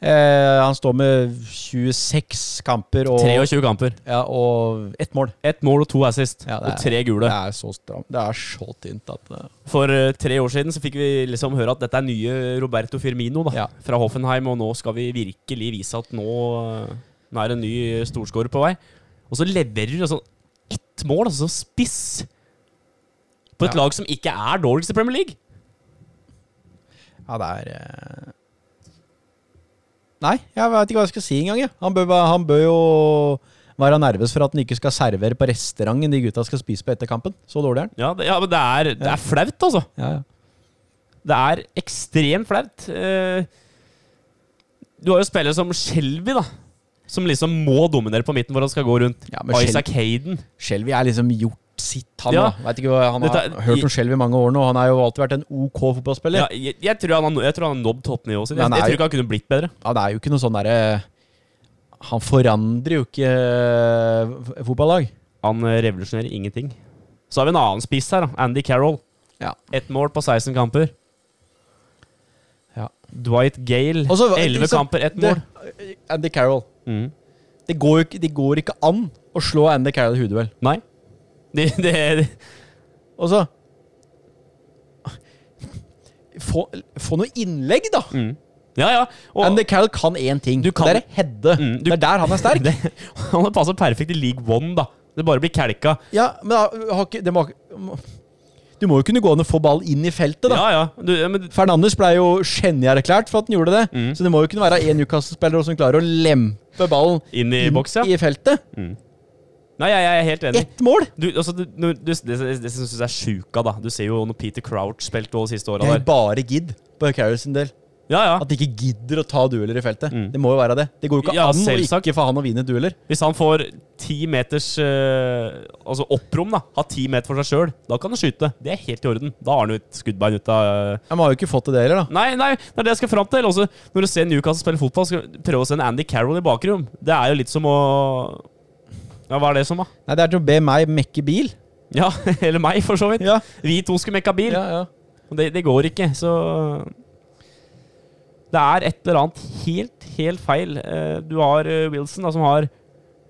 [SPEAKER 3] Eh, han står med 26 kamper og,
[SPEAKER 2] 23 kamper.
[SPEAKER 3] ja, og ett mål.
[SPEAKER 2] Ett mål og to assist.
[SPEAKER 3] Ja, det
[SPEAKER 2] og
[SPEAKER 3] er-
[SPEAKER 2] tre gule.
[SPEAKER 3] Det er så stramt. Det er så tynt at eh,
[SPEAKER 2] For eh, tre år siden så fikk vi liksom høre at dette er nye Roberto Firmino da,
[SPEAKER 3] Ja.
[SPEAKER 2] fra Hoffenheim, og nå skal vi virkelig vise at nå, eh, nå er en ny eh, storskårer på vei. Og så leverer du sånn ett mål, altså spiss, på et
[SPEAKER 3] Ja.
[SPEAKER 2] lag som ikke er dårligst i Premier League.
[SPEAKER 3] Ja, det er eh, Nei, jeg veit ikke hva jeg skal si engang. jeg. Han, bør være- han bør jo være nervøs for at han ikke skal servere på restauranten de gutta skal spise på etter kampen. Så dårlig er han.
[SPEAKER 2] Ja, det, ja men det er, det er flaut, altså.
[SPEAKER 3] Ja, ja.
[SPEAKER 2] Det er ekstremt flaut. Eh, Du har jo spillere som Shelby, da. Som liksom må dominere på midten for at han skal gå rundt.
[SPEAKER 3] Ja, men Shel-
[SPEAKER 2] Isaac Hayden.
[SPEAKER 3] Shelby er liksom gjort hvert sitt, han.
[SPEAKER 2] Ja.
[SPEAKER 3] da. Vet ikke, hva- han har
[SPEAKER 2] Dette er-
[SPEAKER 3] hørt om selv i mange år nå. Han har jo alltid vært en OK fotballspiller.
[SPEAKER 2] Ja, jeg, jeg, tror han har, jeg tror han har nådd toppnivået sitt. Jeg,
[SPEAKER 3] Men han
[SPEAKER 2] jeg
[SPEAKER 3] er
[SPEAKER 2] tror
[SPEAKER 3] jo-
[SPEAKER 2] ikke han kunne blitt bedre.
[SPEAKER 3] Han er jo ikke noe sånn derre Han forandrer jo ikke eh, fotballag.
[SPEAKER 2] Han eh, revolusjonerer ingenting. Så har vi en annen spiss her, da. Andy Carroll.
[SPEAKER 3] Ja.
[SPEAKER 2] Ett mål på 16 kamper.
[SPEAKER 3] Ja.
[SPEAKER 2] Dwight Gale.
[SPEAKER 3] Og så-
[SPEAKER 2] 11
[SPEAKER 3] liksom,
[SPEAKER 2] kamper, ett
[SPEAKER 3] det-
[SPEAKER 2] mål.
[SPEAKER 3] Andy Carroll.
[SPEAKER 2] Mm.
[SPEAKER 3] Det går, jo ikke, det går ikke an å slå Andy Carroll i hodet, vel.
[SPEAKER 2] Nei. Det, det, det.
[SPEAKER 3] Og så få, få noe innlegg, da!
[SPEAKER 2] Mm. Ja, ja. Og-
[SPEAKER 3] Andy Carroll kan én ting.
[SPEAKER 2] Du kan-
[SPEAKER 3] Det er å heade.
[SPEAKER 2] Mm, du-
[SPEAKER 3] det er der han er
[SPEAKER 2] <laughs>
[SPEAKER 3] sterk.
[SPEAKER 2] Det, <laughs> han har passa perfekt i league one, da. Det bare blir kelka.
[SPEAKER 3] Ja, men da, har ikke, det må, Du må jo kunne gå an å få ball inn i feltet, da.
[SPEAKER 2] Ja, ja. Du, ja, men,
[SPEAKER 3] Fernandes ble jo genierklært for at han gjorde det.
[SPEAKER 2] Mm.
[SPEAKER 3] Så det må jo kunne være én Newcastle-spiller som klarer å lempe ballen
[SPEAKER 2] inn i boks, ja. Mm.
[SPEAKER 3] i feltet.
[SPEAKER 2] Nei, jeg, jeg er helt enig.
[SPEAKER 3] Ett mål!
[SPEAKER 2] Du, altså, du, når- du, det det, det syns jeg er sjuka, da. Du ser jo når Peter Crouch spilte de siste åra
[SPEAKER 3] Det
[SPEAKER 2] der.
[SPEAKER 3] er jo bare gidd på Carroll sin del.
[SPEAKER 2] Ja, ja.
[SPEAKER 3] At de ikke gidder å ta dueller i feltet.
[SPEAKER 2] Mm.
[SPEAKER 3] Det må jo være det. Det går jo ikke
[SPEAKER 2] Ja,
[SPEAKER 3] an å
[SPEAKER 2] selvsagt.
[SPEAKER 3] ikke få han å vinne dueller.
[SPEAKER 2] Hvis han får ti meters eh, altså opprom, da, har ti meter for seg sjøl, da kan han skyte. Det er helt i orden. Da har han jo et skuddbein ut av eh,
[SPEAKER 3] Ja, men har jo ikke fått til det heller, da.
[SPEAKER 2] Nei, nei, det er det jeg skal fram til. Også, når du ser Newcastle spille fotball, skal du prøve å se en Andy Carroll i bakrom. Det er jo litt som å Ja, hva er det som, da? <laughs>
[SPEAKER 3] Nei, det er til å be meg mekke bil.
[SPEAKER 2] Ja, eller meg, for så vidt.
[SPEAKER 3] Ja,
[SPEAKER 2] Vi to skulle mekka bil.
[SPEAKER 3] ja, ja.
[SPEAKER 2] Det, det går ikke, så Det er et eller annet helt, helt feil. Eh, Du har eh, Wilson, da, som har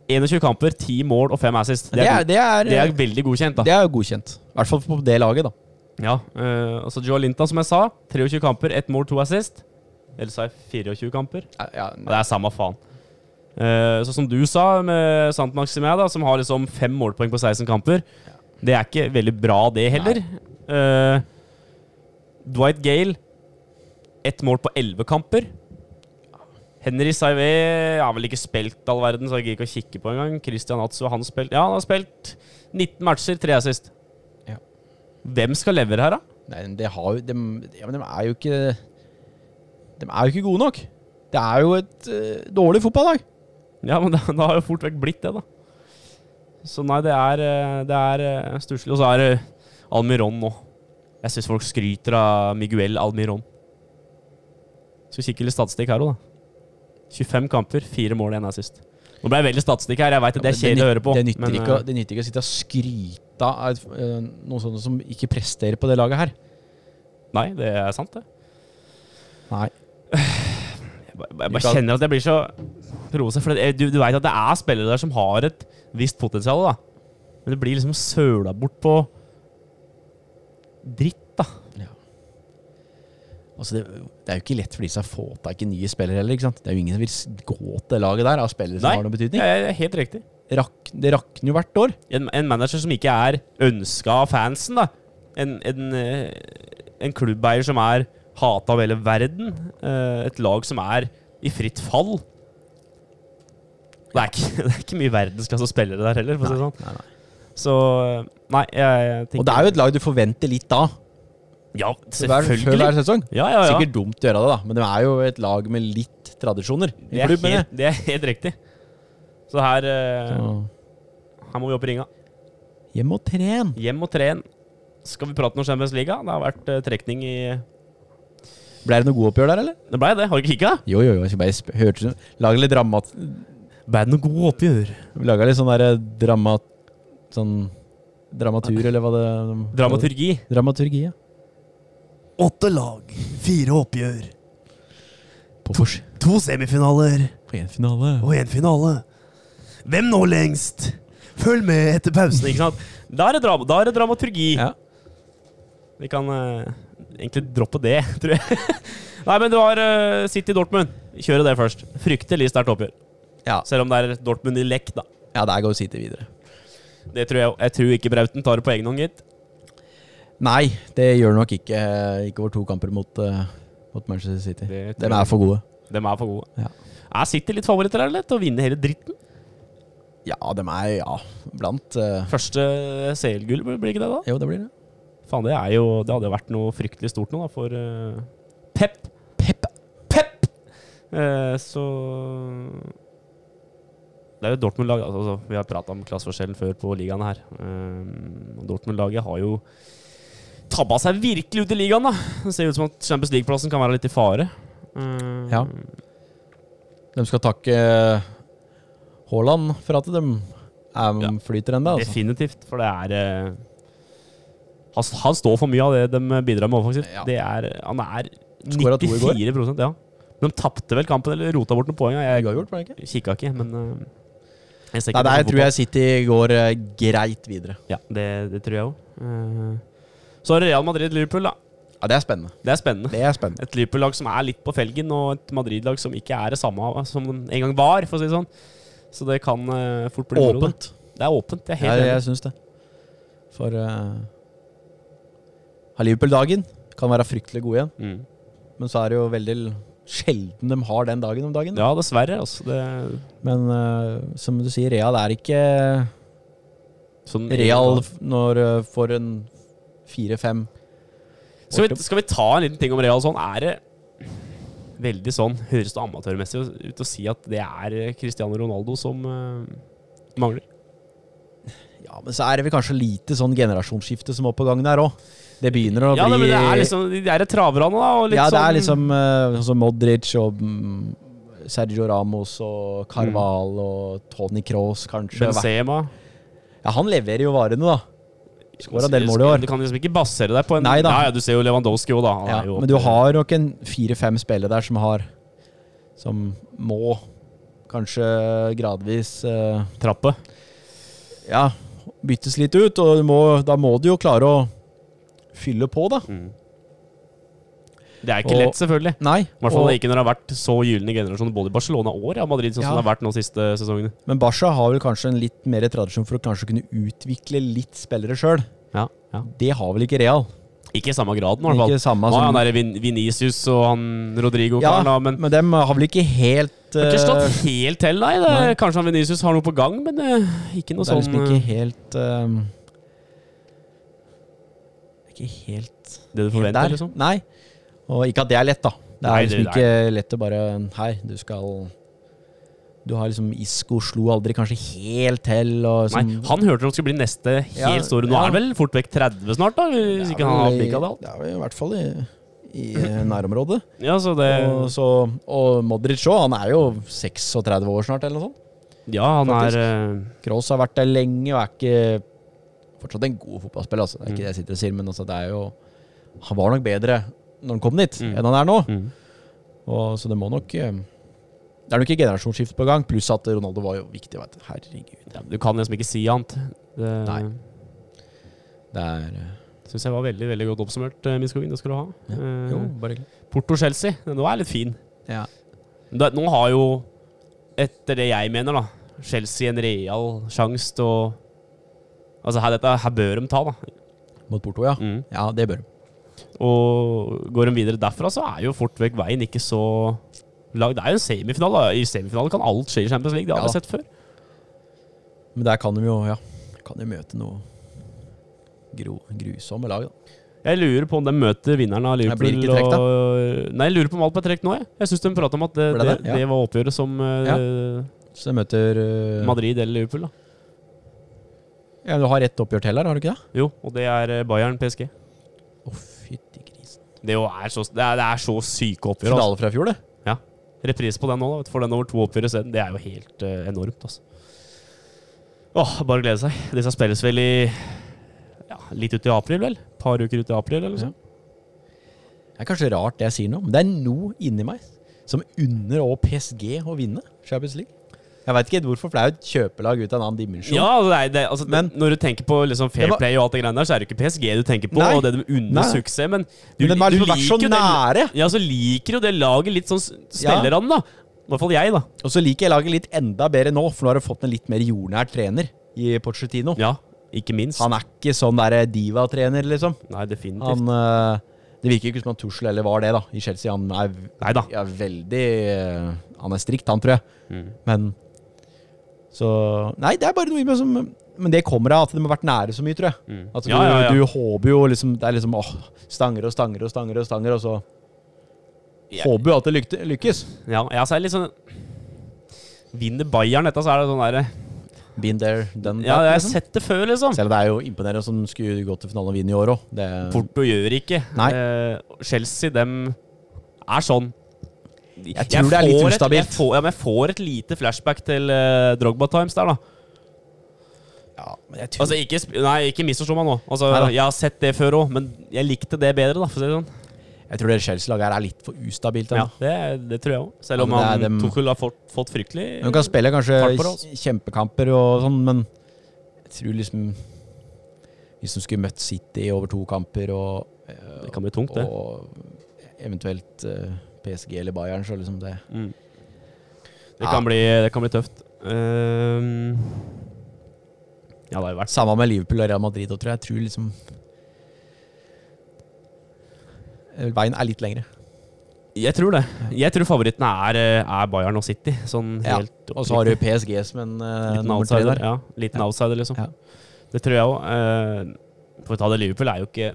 [SPEAKER 2] 21 kamper, 10 mål og 5 assist.
[SPEAKER 3] Det er,
[SPEAKER 2] Det
[SPEAKER 3] det
[SPEAKER 2] er,
[SPEAKER 3] er,
[SPEAKER 2] det er veldig godkjent, da.
[SPEAKER 3] det er jo godkjent. I hvert fall på det laget, da.
[SPEAKER 2] Ja, eh, altså Joe Linton, som jeg sa. 23 kamper, 1 mål, 2 assist. Eller sa jeg 24 kamper?
[SPEAKER 3] Ja,
[SPEAKER 2] Ja, det er samme faen. Eh, så som du sa med Sant Maximé, da, som har liksom fem målpoeng på 16 kamper, det er ikke veldig bra, det heller. Eh, Dwight Gale, ett mål på 11 kamper. Henry Saivé har vel ikke spilt all verden, så jeg gidder ikke å kikke på engang. Christian Atsu, han spilt Ja, han har spilt 19 matcher, tre assist.
[SPEAKER 3] Ja.
[SPEAKER 2] Hvem skal levere her, da?
[SPEAKER 3] Nei, men det har jo de, ja, men de er jo ikke De er jo ikke gode nok. Det er jo et eh, dårlig fotballag.
[SPEAKER 2] Ja, men det, det har jo fort vekk blitt det, da. Så nei, det er, eh, det er eh, stusslig. Og så er det Almiron nå. Jeg syns folk skryter av Miguel Almiron. Skal kikke litt statistikk her òg, da. 25 kamper, 4 mål, 1 assist. Nå ble jeg veldig statistikk her. Jeg veit at det er kjedelig å høre på.
[SPEAKER 3] Det nytter,
[SPEAKER 2] men,
[SPEAKER 3] ikke, å-
[SPEAKER 2] eh,
[SPEAKER 3] det nytter ikke å sitte og skryte av et, eh, noen sånne som ikke presterer på det laget her.
[SPEAKER 2] eh, Nei, det er sant, det.
[SPEAKER 3] Nei.
[SPEAKER 2] Jeg bare, jeg bare kjenner at jeg blir så provosert. For det, eh, du, du veit at det er spillere der som har et visst potensial, da. Men det blir liksom søla bort på dritt, da.
[SPEAKER 3] Altså det, det er jo ikke lett for de som har fått tak i nye spillere heller. ikke sant? Det er jo ingen som vil s- gå til det laget der av spillere som
[SPEAKER 2] Nei.
[SPEAKER 3] har noen betydning.
[SPEAKER 2] Ja, ja, helt riktig.
[SPEAKER 3] Rak, det rakner jo hvert år.
[SPEAKER 2] En, en manager som ikke er ønska av fansen, da. En, en, eh, en klubbeier som er hata av hele verden. Eh, Et lag som er i fritt fall. Det er ikke, <laughs> det er ikke mye verdensklasse spillere der heller, for å si det sånn.
[SPEAKER 3] Nei, nei.
[SPEAKER 2] Så eh, nei, jeg, jeg tenker
[SPEAKER 3] Og det er jo et lag du forventer litt da.
[SPEAKER 2] Ja,
[SPEAKER 3] Hver, før
[SPEAKER 2] selvfølgelig.
[SPEAKER 3] hver sesong.
[SPEAKER 2] Ja, ja, ja.
[SPEAKER 3] Sikkert dumt å gjøre det, da, men det er jo et lag med litt tradisjoner. i
[SPEAKER 2] Det er,
[SPEAKER 3] klubben,
[SPEAKER 2] helt, det er helt riktig. Så her, eh,
[SPEAKER 3] Så-
[SPEAKER 2] her må vi opp i ringa.
[SPEAKER 3] Hjem og tren.
[SPEAKER 2] Hjem og tren. Skal vi prate noe om Champions League? Det har vært eh, trekning i
[SPEAKER 3] Ble det noe god oppgjør der, eller?
[SPEAKER 2] Det blei det, har du ikke kikka?
[SPEAKER 3] Jo, jo, jo. Jeg skal bare sp- hørte sånn- Laga litt dramat...
[SPEAKER 2] Blei det noe gode oppgjør?
[SPEAKER 3] Laga litt sånn derre dramat... Sånn dramatur, eller hva det
[SPEAKER 2] Dramaturgi.
[SPEAKER 3] Dramaturgi, ja.
[SPEAKER 2] Åtte lag, fire oppgjør,
[SPEAKER 3] På fors.
[SPEAKER 2] to semifinaler
[SPEAKER 3] På én finale.
[SPEAKER 2] og én finale. Hvem nå lengst? Følg med etter pausen, ikke sant? Da er det, dra da er det dramaturgi.
[SPEAKER 3] Ja.
[SPEAKER 2] Vi kan eh, egentlig droppe det, <laughs> tror jeg. Nei, men du har eh, City Dortmund. Kjøre det først. Fryktelig sterkt oppgjør.
[SPEAKER 3] Ja.
[SPEAKER 2] Selv om det er Dortmund i lekk, da.
[SPEAKER 3] ja, der går City videre.
[SPEAKER 2] Det tror jeg, jeg tror ikke Brauten tar det på egen hånd, gitt.
[SPEAKER 3] Nei, det gjør nok ikke Ikke over to kamper mot, eh, mot Manchester City.
[SPEAKER 2] Det tror
[SPEAKER 3] De
[SPEAKER 2] jeg.
[SPEAKER 3] er for gode.
[SPEAKER 2] De er for gode.
[SPEAKER 3] Ja.
[SPEAKER 2] Er City litt favoritter her, eller? Til å vinne hele dritten?
[SPEAKER 3] Ja, de er ja, blant eh,
[SPEAKER 2] Første CL-gull, blir det ikke det, da?
[SPEAKER 3] Jo, det blir det.
[SPEAKER 2] Faen, det er jo Det hadde jo vært noe fryktelig stort nå, da, for eh, Pep.
[SPEAKER 3] Pep.
[SPEAKER 2] Pep! Eh, så Det er jo Dortmund-lag. Altså, altså, vi har prata om klasseforskjellen før på ligaen her. Ehm, og Dortmund-laget har jo tabba seg virkelig ut i ligaen, da. Det ser ut som at Champions League-plassen kan være litt i fare. Ehm,
[SPEAKER 3] Ja. De skal takke eh, Haaland for at de er
[SPEAKER 2] Ja.
[SPEAKER 3] flyter ennå. Altså.
[SPEAKER 2] Definitivt, for det er eh, han, han står for mye av det de bidrar med offensivt.
[SPEAKER 3] Ja.
[SPEAKER 2] Det er, han er
[SPEAKER 3] Skåret to i går.
[SPEAKER 2] 94 ja. Men de tapte vel kampen, eller rota bort noen poeng.
[SPEAKER 3] Det
[SPEAKER 2] Jeg
[SPEAKER 3] har gjort, var det ikke?
[SPEAKER 2] kikka ikke, men eh, jeg ser
[SPEAKER 3] Nei,
[SPEAKER 2] ikke
[SPEAKER 3] der
[SPEAKER 2] på
[SPEAKER 3] tror jeg City går eh, greit videre.
[SPEAKER 2] fotball. Ja, det, det tror jeg òg. Så er det Real Madrid-Liverpool, da.
[SPEAKER 3] Ja, Det er spennende.
[SPEAKER 2] Det er spennende.
[SPEAKER 3] Det er spennende.
[SPEAKER 2] Et Liverpool-lag som er litt på felgen, og et Madrid-lag som ikke er det samme som de en gang var, for å si det sånn. Så det kan eh, fort bli moro, det.
[SPEAKER 3] Åpent.
[SPEAKER 2] Det er åpent. Jeg er <laughs>
[SPEAKER 3] Ja,
[SPEAKER 2] helt enig.
[SPEAKER 3] jeg syns det. For eh, har Liverpool-dagen kan være fryktelig god igjen,
[SPEAKER 2] Mm.
[SPEAKER 3] men så er det jo veldig l- sjelden de har den dagen om dagen.
[SPEAKER 2] Ja, dessverre. Altså. Det,
[SPEAKER 3] Men eh, som du sier, Real er ikke
[SPEAKER 2] sånn-
[SPEAKER 3] Real f- når eh, for en fire-fem
[SPEAKER 2] Skal vi, skal vi ta en liten ting om Real sånn? Er det veldig sånn, høres det amatørmessig ut å si at det er eh, Cristiano Ronaldo som eh, mangler?
[SPEAKER 3] Ja, men så er det vel kanskje lite sånn generasjonsskifte som er på gang der òg. Det begynner å
[SPEAKER 2] Ja, nei,
[SPEAKER 3] bli
[SPEAKER 2] men det er liksom de der traverne, da. Og litt
[SPEAKER 3] Ja, det
[SPEAKER 2] sånn,
[SPEAKER 3] er liksom eh, sånn som Modric og mm, Sergio Ramos og Carval og Tony Cross, kanskje.
[SPEAKER 2] Mm. Benzema.
[SPEAKER 3] Ja, han leverer jo varene, da. Skåra del mål i år.
[SPEAKER 2] Du kan liksom ikke basere deg på en
[SPEAKER 3] Nei da.
[SPEAKER 2] Ja, ja, du ser jo Lewandowski òg, da. Han
[SPEAKER 3] Ja,
[SPEAKER 2] er jo
[SPEAKER 3] men du har nok en fire-fem spillere der som har Som må kanskje gradvis eh,
[SPEAKER 2] trappe.
[SPEAKER 3] Ja, byttes litt ut, og du må, da må du jo klare å fylle på, da.
[SPEAKER 2] Mm. Det er ikke
[SPEAKER 3] Og-
[SPEAKER 2] lett, selvfølgelig.
[SPEAKER 3] Nei.
[SPEAKER 2] I hvert fall
[SPEAKER 3] og-
[SPEAKER 2] ikke når det har vært så gylne generasjoner både i Barcelona og Real Madrid, sånn
[SPEAKER 3] Ja.
[SPEAKER 2] som det har vært nå siste sesongene.
[SPEAKER 3] Men Barca har vel kanskje en litt mer tradisjon for å kanskje kunne utvikle litt spillere sjøl.
[SPEAKER 2] Ja, ja.
[SPEAKER 3] Det har vel ikke Real.
[SPEAKER 2] Ikke i samme graden, i hvert fall.
[SPEAKER 3] Ikke samme
[SPEAKER 2] Nå er han
[SPEAKER 3] som-
[SPEAKER 2] der Vin Vinicius og han Rodrigo
[SPEAKER 3] Ja,
[SPEAKER 2] karen, da, men
[SPEAKER 3] Men dem har vel ikke helt
[SPEAKER 2] Det har ikke
[SPEAKER 3] eh,
[SPEAKER 2] slått helt til, nei. Det.
[SPEAKER 3] nei.
[SPEAKER 2] Kanskje han Venicius har noe på gang, men eh, ikke noe
[SPEAKER 3] Det er
[SPEAKER 2] sånn
[SPEAKER 3] liksom ikke helt eh, Ikke helt
[SPEAKER 2] Det du
[SPEAKER 3] helt
[SPEAKER 2] forventer,
[SPEAKER 3] der.
[SPEAKER 2] liksom.
[SPEAKER 3] Nei. Og ikke at det er lett, da. Det er
[SPEAKER 2] Nei,
[SPEAKER 3] liksom
[SPEAKER 2] det-
[SPEAKER 3] ikke lett å bare Hei, du skal Du har liksom Isco slo aldri kanskje helt til, og sånn.
[SPEAKER 2] Nei,
[SPEAKER 3] som
[SPEAKER 2] han hørte han skulle bli neste helt
[SPEAKER 3] Ja,
[SPEAKER 2] store. Nå
[SPEAKER 3] ja.
[SPEAKER 2] er han vel fort vekk 30 snart, da? Hvis ikke han har pikka det alt.
[SPEAKER 3] Det er vel i hvert fall i, i eh, nærområdet.
[SPEAKER 2] Ja, så det
[SPEAKER 3] Og, så, og Modric òg, han er jo 36 år snart, eller noe sånt.
[SPEAKER 2] Ja, han
[SPEAKER 3] faktisk.
[SPEAKER 2] er eh,
[SPEAKER 3] Kroos har vært der lenge og er ikke fortsatt en god fotballspiller. Altså. Det er ikke det jeg sitter og sier, men altså, det er jo Han var nok bedre når han kom dit,
[SPEAKER 2] Mm.
[SPEAKER 3] enn han er nå.
[SPEAKER 2] mm.
[SPEAKER 3] Og, så det må nok eh, Det er nok et generasjonsskifte på gang, pluss at Ronaldo var jo viktig. Vet du. Herregud.
[SPEAKER 2] ja, Du kan liksom ikke si annet. Det
[SPEAKER 3] Nei. Det er eh,
[SPEAKER 2] syns jeg var veldig veldig godt oppsummert, eh, Min Skogen. Det skal du ha.
[SPEAKER 3] Ja.
[SPEAKER 2] Eh,
[SPEAKER 3] Jo, bare hyggelig.
[SPEAKER 2] Porto-Chelsea, nå er jeg litt fin.
[SPEAKER 3] Ja.
[SPEAKER 2] Da, nå har jo, etter det jeg mener, da Chelsea en real sjanse til å Altså, her, dette, her bør de ta, da.
[SPEAKER 3] Mot Porto, ja.
[SPEAKER 2] Mm.
[SPEAKER 3] Ja, det bør de.
[SPEAKER 2] Og går de videre derfra, så er jo fort vekk veien ikke så lang. Det er jo en semifinale. da. I semifinale kan alt skje i Champions League. Det har
[SPEAKER 3] Ja.
[SPEAKER 2] vi sett før.
[SPEAKER 3] Men der kan de jo ja, kan de møte noe gro, grusomme lag, da.
[SPEAKER 2] Jeg lurer på om de møter vinneren av
[SPEAKER 3] Det
[SPEAKER 2] Liverpool.
[SPEAKER 3] blir ikke trekk, da.
[SPEAKER 2] og- Nei, jeg lurer på om alt ble trukket nå, jeg. Jeg syns de prata om at det,
[SPEAKER 3] Ble
[SPEAKER 2] det,
[SPEAKER 3] det?
[SPEAKER 2] det,
[SPEAKER 3] Ja.
[SPEAKER 2] var oppgjøret som eh,
[SPEAKER 3] Så de møter eh,
[SPEAKER 2] Madrid eller Liverpool, da.
[SPEAKER 3] ja, Du har ett oppgjør til her, har du ikke det?
[SPEAKER 2] Jo, og det er eh, Bayern PSG.
[SPEAKER 3] Å, fytti grisen.
[SPEAKER 2] Det jo er så, det er, det er så syke oppgjør. Altså.
[SPEAKER 3] Finale fra i fjor, det.
[SPEAKER 2] Reprise på den nå, da. vet du, Får den over to oppgjør isteden. Det er jo helt eh, enormt, altså. Åh, bare glede seg. Det skal spilles vel i ja, litt ut i april, vel? Par uker ut i april, eller noe sånt.
[SPEAKER 3] Det er kanskje rart det jeg sier nå, men det er noe inni meg som unner også PSG å vinne Champions League. Jeg veit ikke helt hvorfor, for det er jo et kjøpelag ut av en annen dimensjon.
[SPEAKER 2] Ja, altså, det er, det, altså,
[SPEAKER 3] Men-
[SPEAKER 2] når du tenker på liksom, fair
[SPEAKER 3] Det var-
[SPEAKER 2] play og alt det greiene der, så er det ikke PSG du tenker på,
[SPEAKER 3] Nei.
[SPEAKER 2] og det de unner
[SPEAKER 3] Nei.
[SPEAKER 2] suksess, men du,
[SPEAKER 3] Men de har
[SPEAKER 2] du
[SPEAKER 3] liksom vært så
[SPEAKER 2] liker jo
[SPEAKER 3] nære.
[SPEAKER 2] det, Ja, så liker jo det laget litt sånn s-
[SPEAKER 3] Ja.
[SPEAKER 2] spillerne, da. I hvert fall jeg, da.
[SPEAKER 3] Og så liker jeg laget litt enda bedre nå, for nå har du fått en litt mer jordnær trener i Pochettino.
[SPEAKER 2] Ja, ikke minst.
[SPEAKER 3] Han er ikke sånn derre diva-trener, liksom.
[SPEAKER 2] Nei, definitivt.
[SPEAKER 3] Han øh, Det virker ikke som at Tussel eller var det, da, i Chelsea. Han er,
[SPEAKER 2] Nei da.
[SPEAKER 3] er veldig øh, Han er strikt, han, tror jeg.
[SPEAKER 2] Mm.
[SPEAKER 3] Men Så Nei, det er bare noe i meg som Men det kommer av at de har vært nære så mye, tror jeg. At
[SPEAKER 2] Mm.
[SPEAKER 3] du,
[SPEAKER 2] Ja, ja, ja.
[SPEAKER 3] du håper jo liksom Det er liksom åh, stanger og stanger og stanger og stanger, og så
[SPEAKER 2] Ja.
[SPEAKER 3] håper jo at det lykt- lykkes.
[SPEAKER 2] Ja, jeg altså, jeg er litt sånn Vinner Bayern dette, så er det sånn derre
[SPEAKER 3] Been there, done
[SPEAKER 2] Ja,
[SPEAKER 3] that,
[SPEAKER 2] jeg har
[SPEAKER 3] liksom.
[SPEAKER 2] sett det før, liksom.
[SPEAKER 3] Selv om det er jo imponerende som skulle gå til finalen og vinne i år òg.
[SPEAKER 2] Porto gjør ikke.
[SPEAKER 3] Nei.
[SPEAKER 2] Eh, Chelsea, dem er sånn. Jeg,
[SPEAKER 3] tror det er litt
[SPEAKER 2] får
[SPEAKER 3] ustabilt.
[SPEAKER 2] Et, jeg, får, ja, men jeg får et lite flashback til eh, Drogba Times der, da.
[SPEAKER 3] Ja, men jeg tror
[SPEAKER 2] Altså, ikke, sp- nei, ikke misforstå meg nå. Altså,
[SPEAKER 3] Neida.
[SPEAKER 2] jeg har sett det før òg, men jeg likte det bedre, da. For å si det sånn.
[SPEAKER 3] Jeg tror det Chelsea-laget her er litt for ustabilt. altså.
[SPEAKER 2] Ja,
[SPEAKER 3] ennå.
[SPEAKER 2] det, det tror jeg òg. Selv om
[SPEAKER 3] Ja, men
[SPEAKER 2] han
[SPEAKER 3] det er dem-
[SPEAKER 2] Tuchel har fått, fått fryktelig
[SPEAKER 3] Hun kan spille kanskje
[SPEAKER 2] Fart på det, altså.
[SPEAKER 3] kjempekamper og sånn, men jeg tror liksom Hvis de skulle møtt City over to kamper og, eh,
[SPEAKER 2] Det kan bli tungt, det.
[SPEAKER 3] og eventuelt eh, PSG eller Bayern, så liksom det
[SPEAKER 2] Mm. Det,
[SPEAKER 3] Ja.
[SPEAKER 2] kan bli, det kan bli tøft. Ehm, ja, det har jo vært
[SPEAKER 3] Samme med Liverpool og Real Madrid, og tror jeg. Jeg tror liksom Eh, Veien er litt lengre.
[SPEAKER 2] Jeg tror det. Jeg tror favorittene er, eh, er Bayern og City. Sånn
[SPEAKER 3] Ja,
[SPEAKER 2] helt
[SPEAKER 3] Og så har du PSG som en eh,
[SPEAKER 2] Liten
[SPEAKER 3] nummer tre
[SPEAKER 2] outsider,
[SPEAKER 3] der.
[SPEAKER 2] ja. Liten
[SPEAKER 3] Ja.
[SPEAKER 2] outsider, liksom.
[SPEAKER 3] Ja.
[SPEAKER 2] Det tror jeg òg. For å ta det Liverpool er jo ikke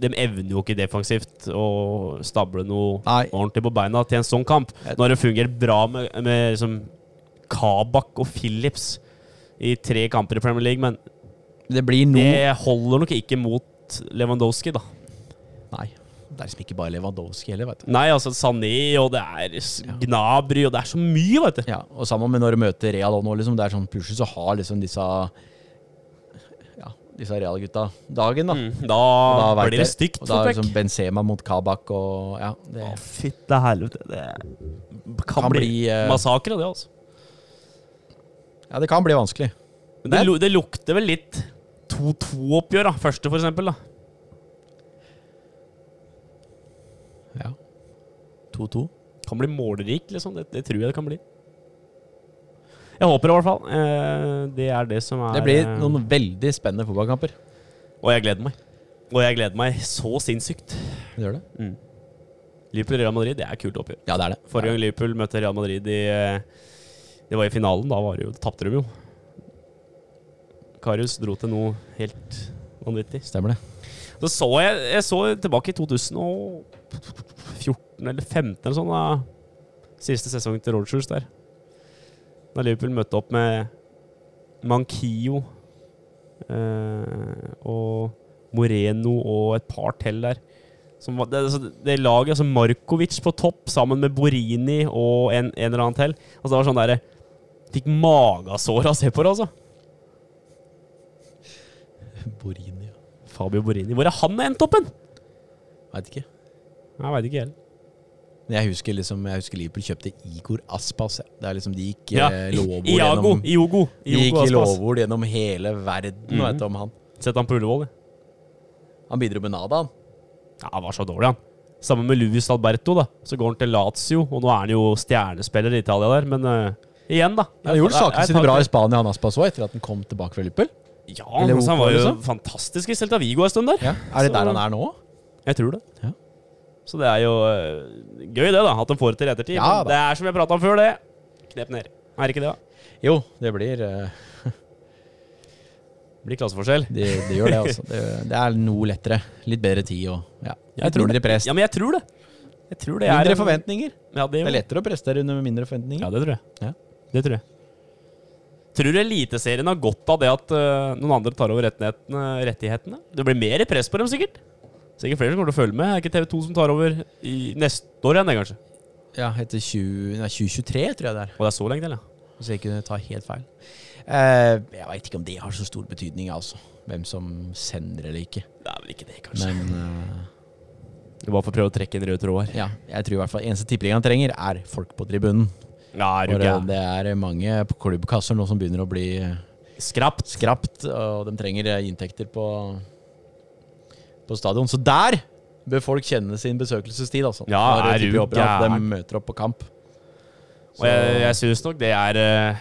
[SPEAKER 2] De evner jo ikke defensivt å stable noe
[SPEAKER 3] Nei.
[SPEAKER 2] ordentlig på beina til en sånn kamp.
[SPEAKER 3] Jeg-
[SPEAKER 2] Når det fungerer bra med, med liksom Kabak og Phillips i tre kamper i Premier League, men
[SPEAKER 3] Det blir noe
[SPEAKER 2] det holder nok ikke mot Lewandowski, da.
[SPEAKER 3] Nei. Det er liksom ikke bare Lewandowski heller, vet du.
[SPEAKER 2] Nei, altså Sané, og det er s- Gnabry, og det er så mye, vet du.
[SPEAKER 3] Ja, og sammen med når du møter Real nå, liksom, det er sånn plutselig så har liksom disse Ja, disse Real-gutta dagen, da.
[SPEAKER 2] Mm,
[SPEAKER 3] Og
[SPEAKER 2] Da,
[SPEAKER 3] vet
[SPEAKER 2] blir
[SPEAKER 3] jeg-
[SPEAKER 2] det stygt
[SPEAKER 3] Og da er
[SPEAKER 2] for Beck.
[SPEAKER 3] liksom Benzema mot Kabak og Ja, det
[SPEAKER 2] Å, fytte helvete. Det kan,
[SPEAKER 3] Kan
[SPEAKER 2] bli,
[SPEAKER 3] bli, eh,
[SPEAKER 2] massakre, det, altså.
[SPEAKER 3] Ja, det kan bli vanskelig.
[SPEAKER 2] Men Det, lu- det lukter vel litt 2-2-oppgjør, da. Første, for eksempel. Da.
[SPEAKER 3] Ja. 2-2.
[SPEAKER 2] Kan bli målrik, liksom. Det, det tror jeg det kan bli. Jeg håper det, i hvert fall. Eh, det er det som er
[SPEAKER 3] Det blir
[SPEAKER 2] eh,
[SPEAKER 3] noen veldig spennende fotballkamper.
[SPEAKER 2] Og jeg gleder meg. Og jeg gleder meg så sinnssykt.
[SPEAKER 3] Det Gjør det?
[SPEAKER 2] Liverpool-Real Madrid, det er kult oppgjør.
[SPEAKER 3] Ja, det er det.
[SPEAKER 2] Forrige gang Liverpool møtte Real Madrid i eh, Det var i finalen, da var det jo, tapte de jo. Karius dro til noe helt vanvittig.
[SPEAKER 3] Stemmer det.
[SPEAKER 2] Så så jeg, jeg så tilbake i 2014 eller 2015 eller sånn, da. Siste sesong til Rogers der. Da Liverpool møtte opp med Mankio eh, og Moreno og et par til der. Som, var- det, altså, det laget, altså Markovic på topp sammen med Borini og en, en eller annen til. Altså, det var sånn derre Fikk magasår av å se på det, altså.
[SPEAKER 3] Borini ja.
[SPEAKER 2] Fabio Borini. Hvor er han endt opp hen?
[SPEAKER 3] Veit ikke.
[SPEAKER 2] Jeg veit ikke heller.
[SPEAKER 3] Men jeg husker liksom Jeg husker Liverpool kjøpte Igor Aspas. jeg. Det er liksom De gikk
[SPEAKER 2] Ja,
[SPEAKER 3] eh,
[SPEAKER 2] I-
[SPEAKER 3] lovord
[SPEAKER 2] Iago.
[SPEAKER 3] gjennom
[SPEAKER 2] Iogo.
[SPEAKER 3] De gikk
[SPEAKER 2] Iogo
[SPEAKER 3] i
[SPEAKER 2] Aspas.
[SPEAKER 3] lovord gjennom hele verden
[SPEAKER 2] Mhm.
[SPEAKER 3] vet du, om han.
[SPEAKER 2] Sett han på Ullevål, jeg.
[SPEAKER 3] Han bidro med Nada, han.
[SPEAKER 2] Ja, han var så dårlig, han. Sammen med Luis Alberto, da. Så går han til Lazio, og nå er han jo stjernespiller i Italia der, men eh, igjen, da.
[SPEAKER 3] Han gjorde
[SPEAKER 2] Jeg-
[SPEAKER 3] sakene
[SPEAKER 2] jeg-
[SPEAKER 3] sine
[SPEAKER 2] jeg-
[SPEAKER 3] bra i Spania, han Aspas også, etter at han kom tilbake fra Liverpool.
[SPEAKER 2] Ja,
[SPEAKER 3] Eller
[SPEAKER 2] altså, han var
[SPEAKER 3] OK,
[SPEAKER 2] jo
[SPEAKER 3] liksom.
[SPEAKER 2] fantastisk i Celta Vigo en stund der.
[SPEAKER 3] Er
[SPEAKER 2] Så-
[SPEAKER 3] det der han er nå?
[SPEAKER 2] Jeg tror det.
[SPEAKER 3] Ja.
[SPEAKER 2] Så det er jo eh, gøy, det, da. At de får det til i ettertid.
[SPEAKER 3] Ja,
[SPEAKER 2] men det er som jeg prata om før, det. Knep ned. Er ikke det, da?
[SPEAKER 3] Jo, det blir eh,
[SPEAKER 2] Blir klasseforskjell.
[SPEAKER 3] Det, det gjør det, altså. Det, det er noe lettere. Litt bedre tid og ja.
[SPEAKER 2] Jeg
[SPEAKER 3] Litt
[SPEAKER 2] tror
[SPEAKER 3] mindre press.
[SPEAKER 2] Ja, men jeg tror det. Jeg tror det er
[SPEAKER 3] Mindre
[SPEAKER 2] en-
[SPEAKER 3] forventninger.
[SPEAKER 2] Ja, det,
[SPEAKER 3] Det er lettere å prestere under mindre
[SPEAKER 2] Ja,
[SPEAKER 3] forventninger.
[SPEAKER 2] det tror jeg.
[SPEAKER 3] Ja.
[SPEAKER 2] Det tror jeg. Tror du Eliteserien har godt av det at øh, noen andre tar over rettighetene, rettighetene? Det blir mer press på dem, sikkert. Sikkert flere som kommer til å følge med. Er det ikke TV 2 som tar over i neste år igjen, det, kanskje?
[SPEAKER 3] Ja, etter 20, nei, 2023, tror jeg det er.
[SPEAKER 2] Og det er så lenge til, ja.
[SPEAKER 3] Hvis jeg kunne ta helt feil. Eh, jeg veit ikke om det har så stor betydning, altså. Hvem som sender eller ikke.
[SPEAKER 2] Det er vel ikke det, kanskje.
[SPEAKER 3] Men eh,
[SPEAKER 2] Du bare får prøve å trekke en rød tråd her.
[SPEAKER 3] ja, jeg tror i hvert fall eneste tippeligaen trenger, er folk på tribunen.
[SPEAKER 2] Ja, er
[SPEAKER 3] For
[SPEAKER 2] du
[SPEAKER 3] eh,
[SPEAKER 2] gæren?
[SPEAKER 3] det er mange på klubbkasser nå som begynner å bli eh,
[SPEAKER 2] Skrapt.
[SPEAKER 3] skrapt, og de trenger eh, inntekter på, på stadion. Så der bør folk kjenne sin besøkelsestid, altså.
[SPEAKER 2] Ja,
[SPEAKER 3] Når
[SPEAKER 2] er
[SPEAKER 3] det
[SPEAKER 2] du
[SPEAKER 3] typer opp, ja, at
[SPEAKER 2] gæren?
[SPEAKER 3] De møter opp på kamp.
[SPEAKER 2] Og jeg, jeg syns nok det er øh,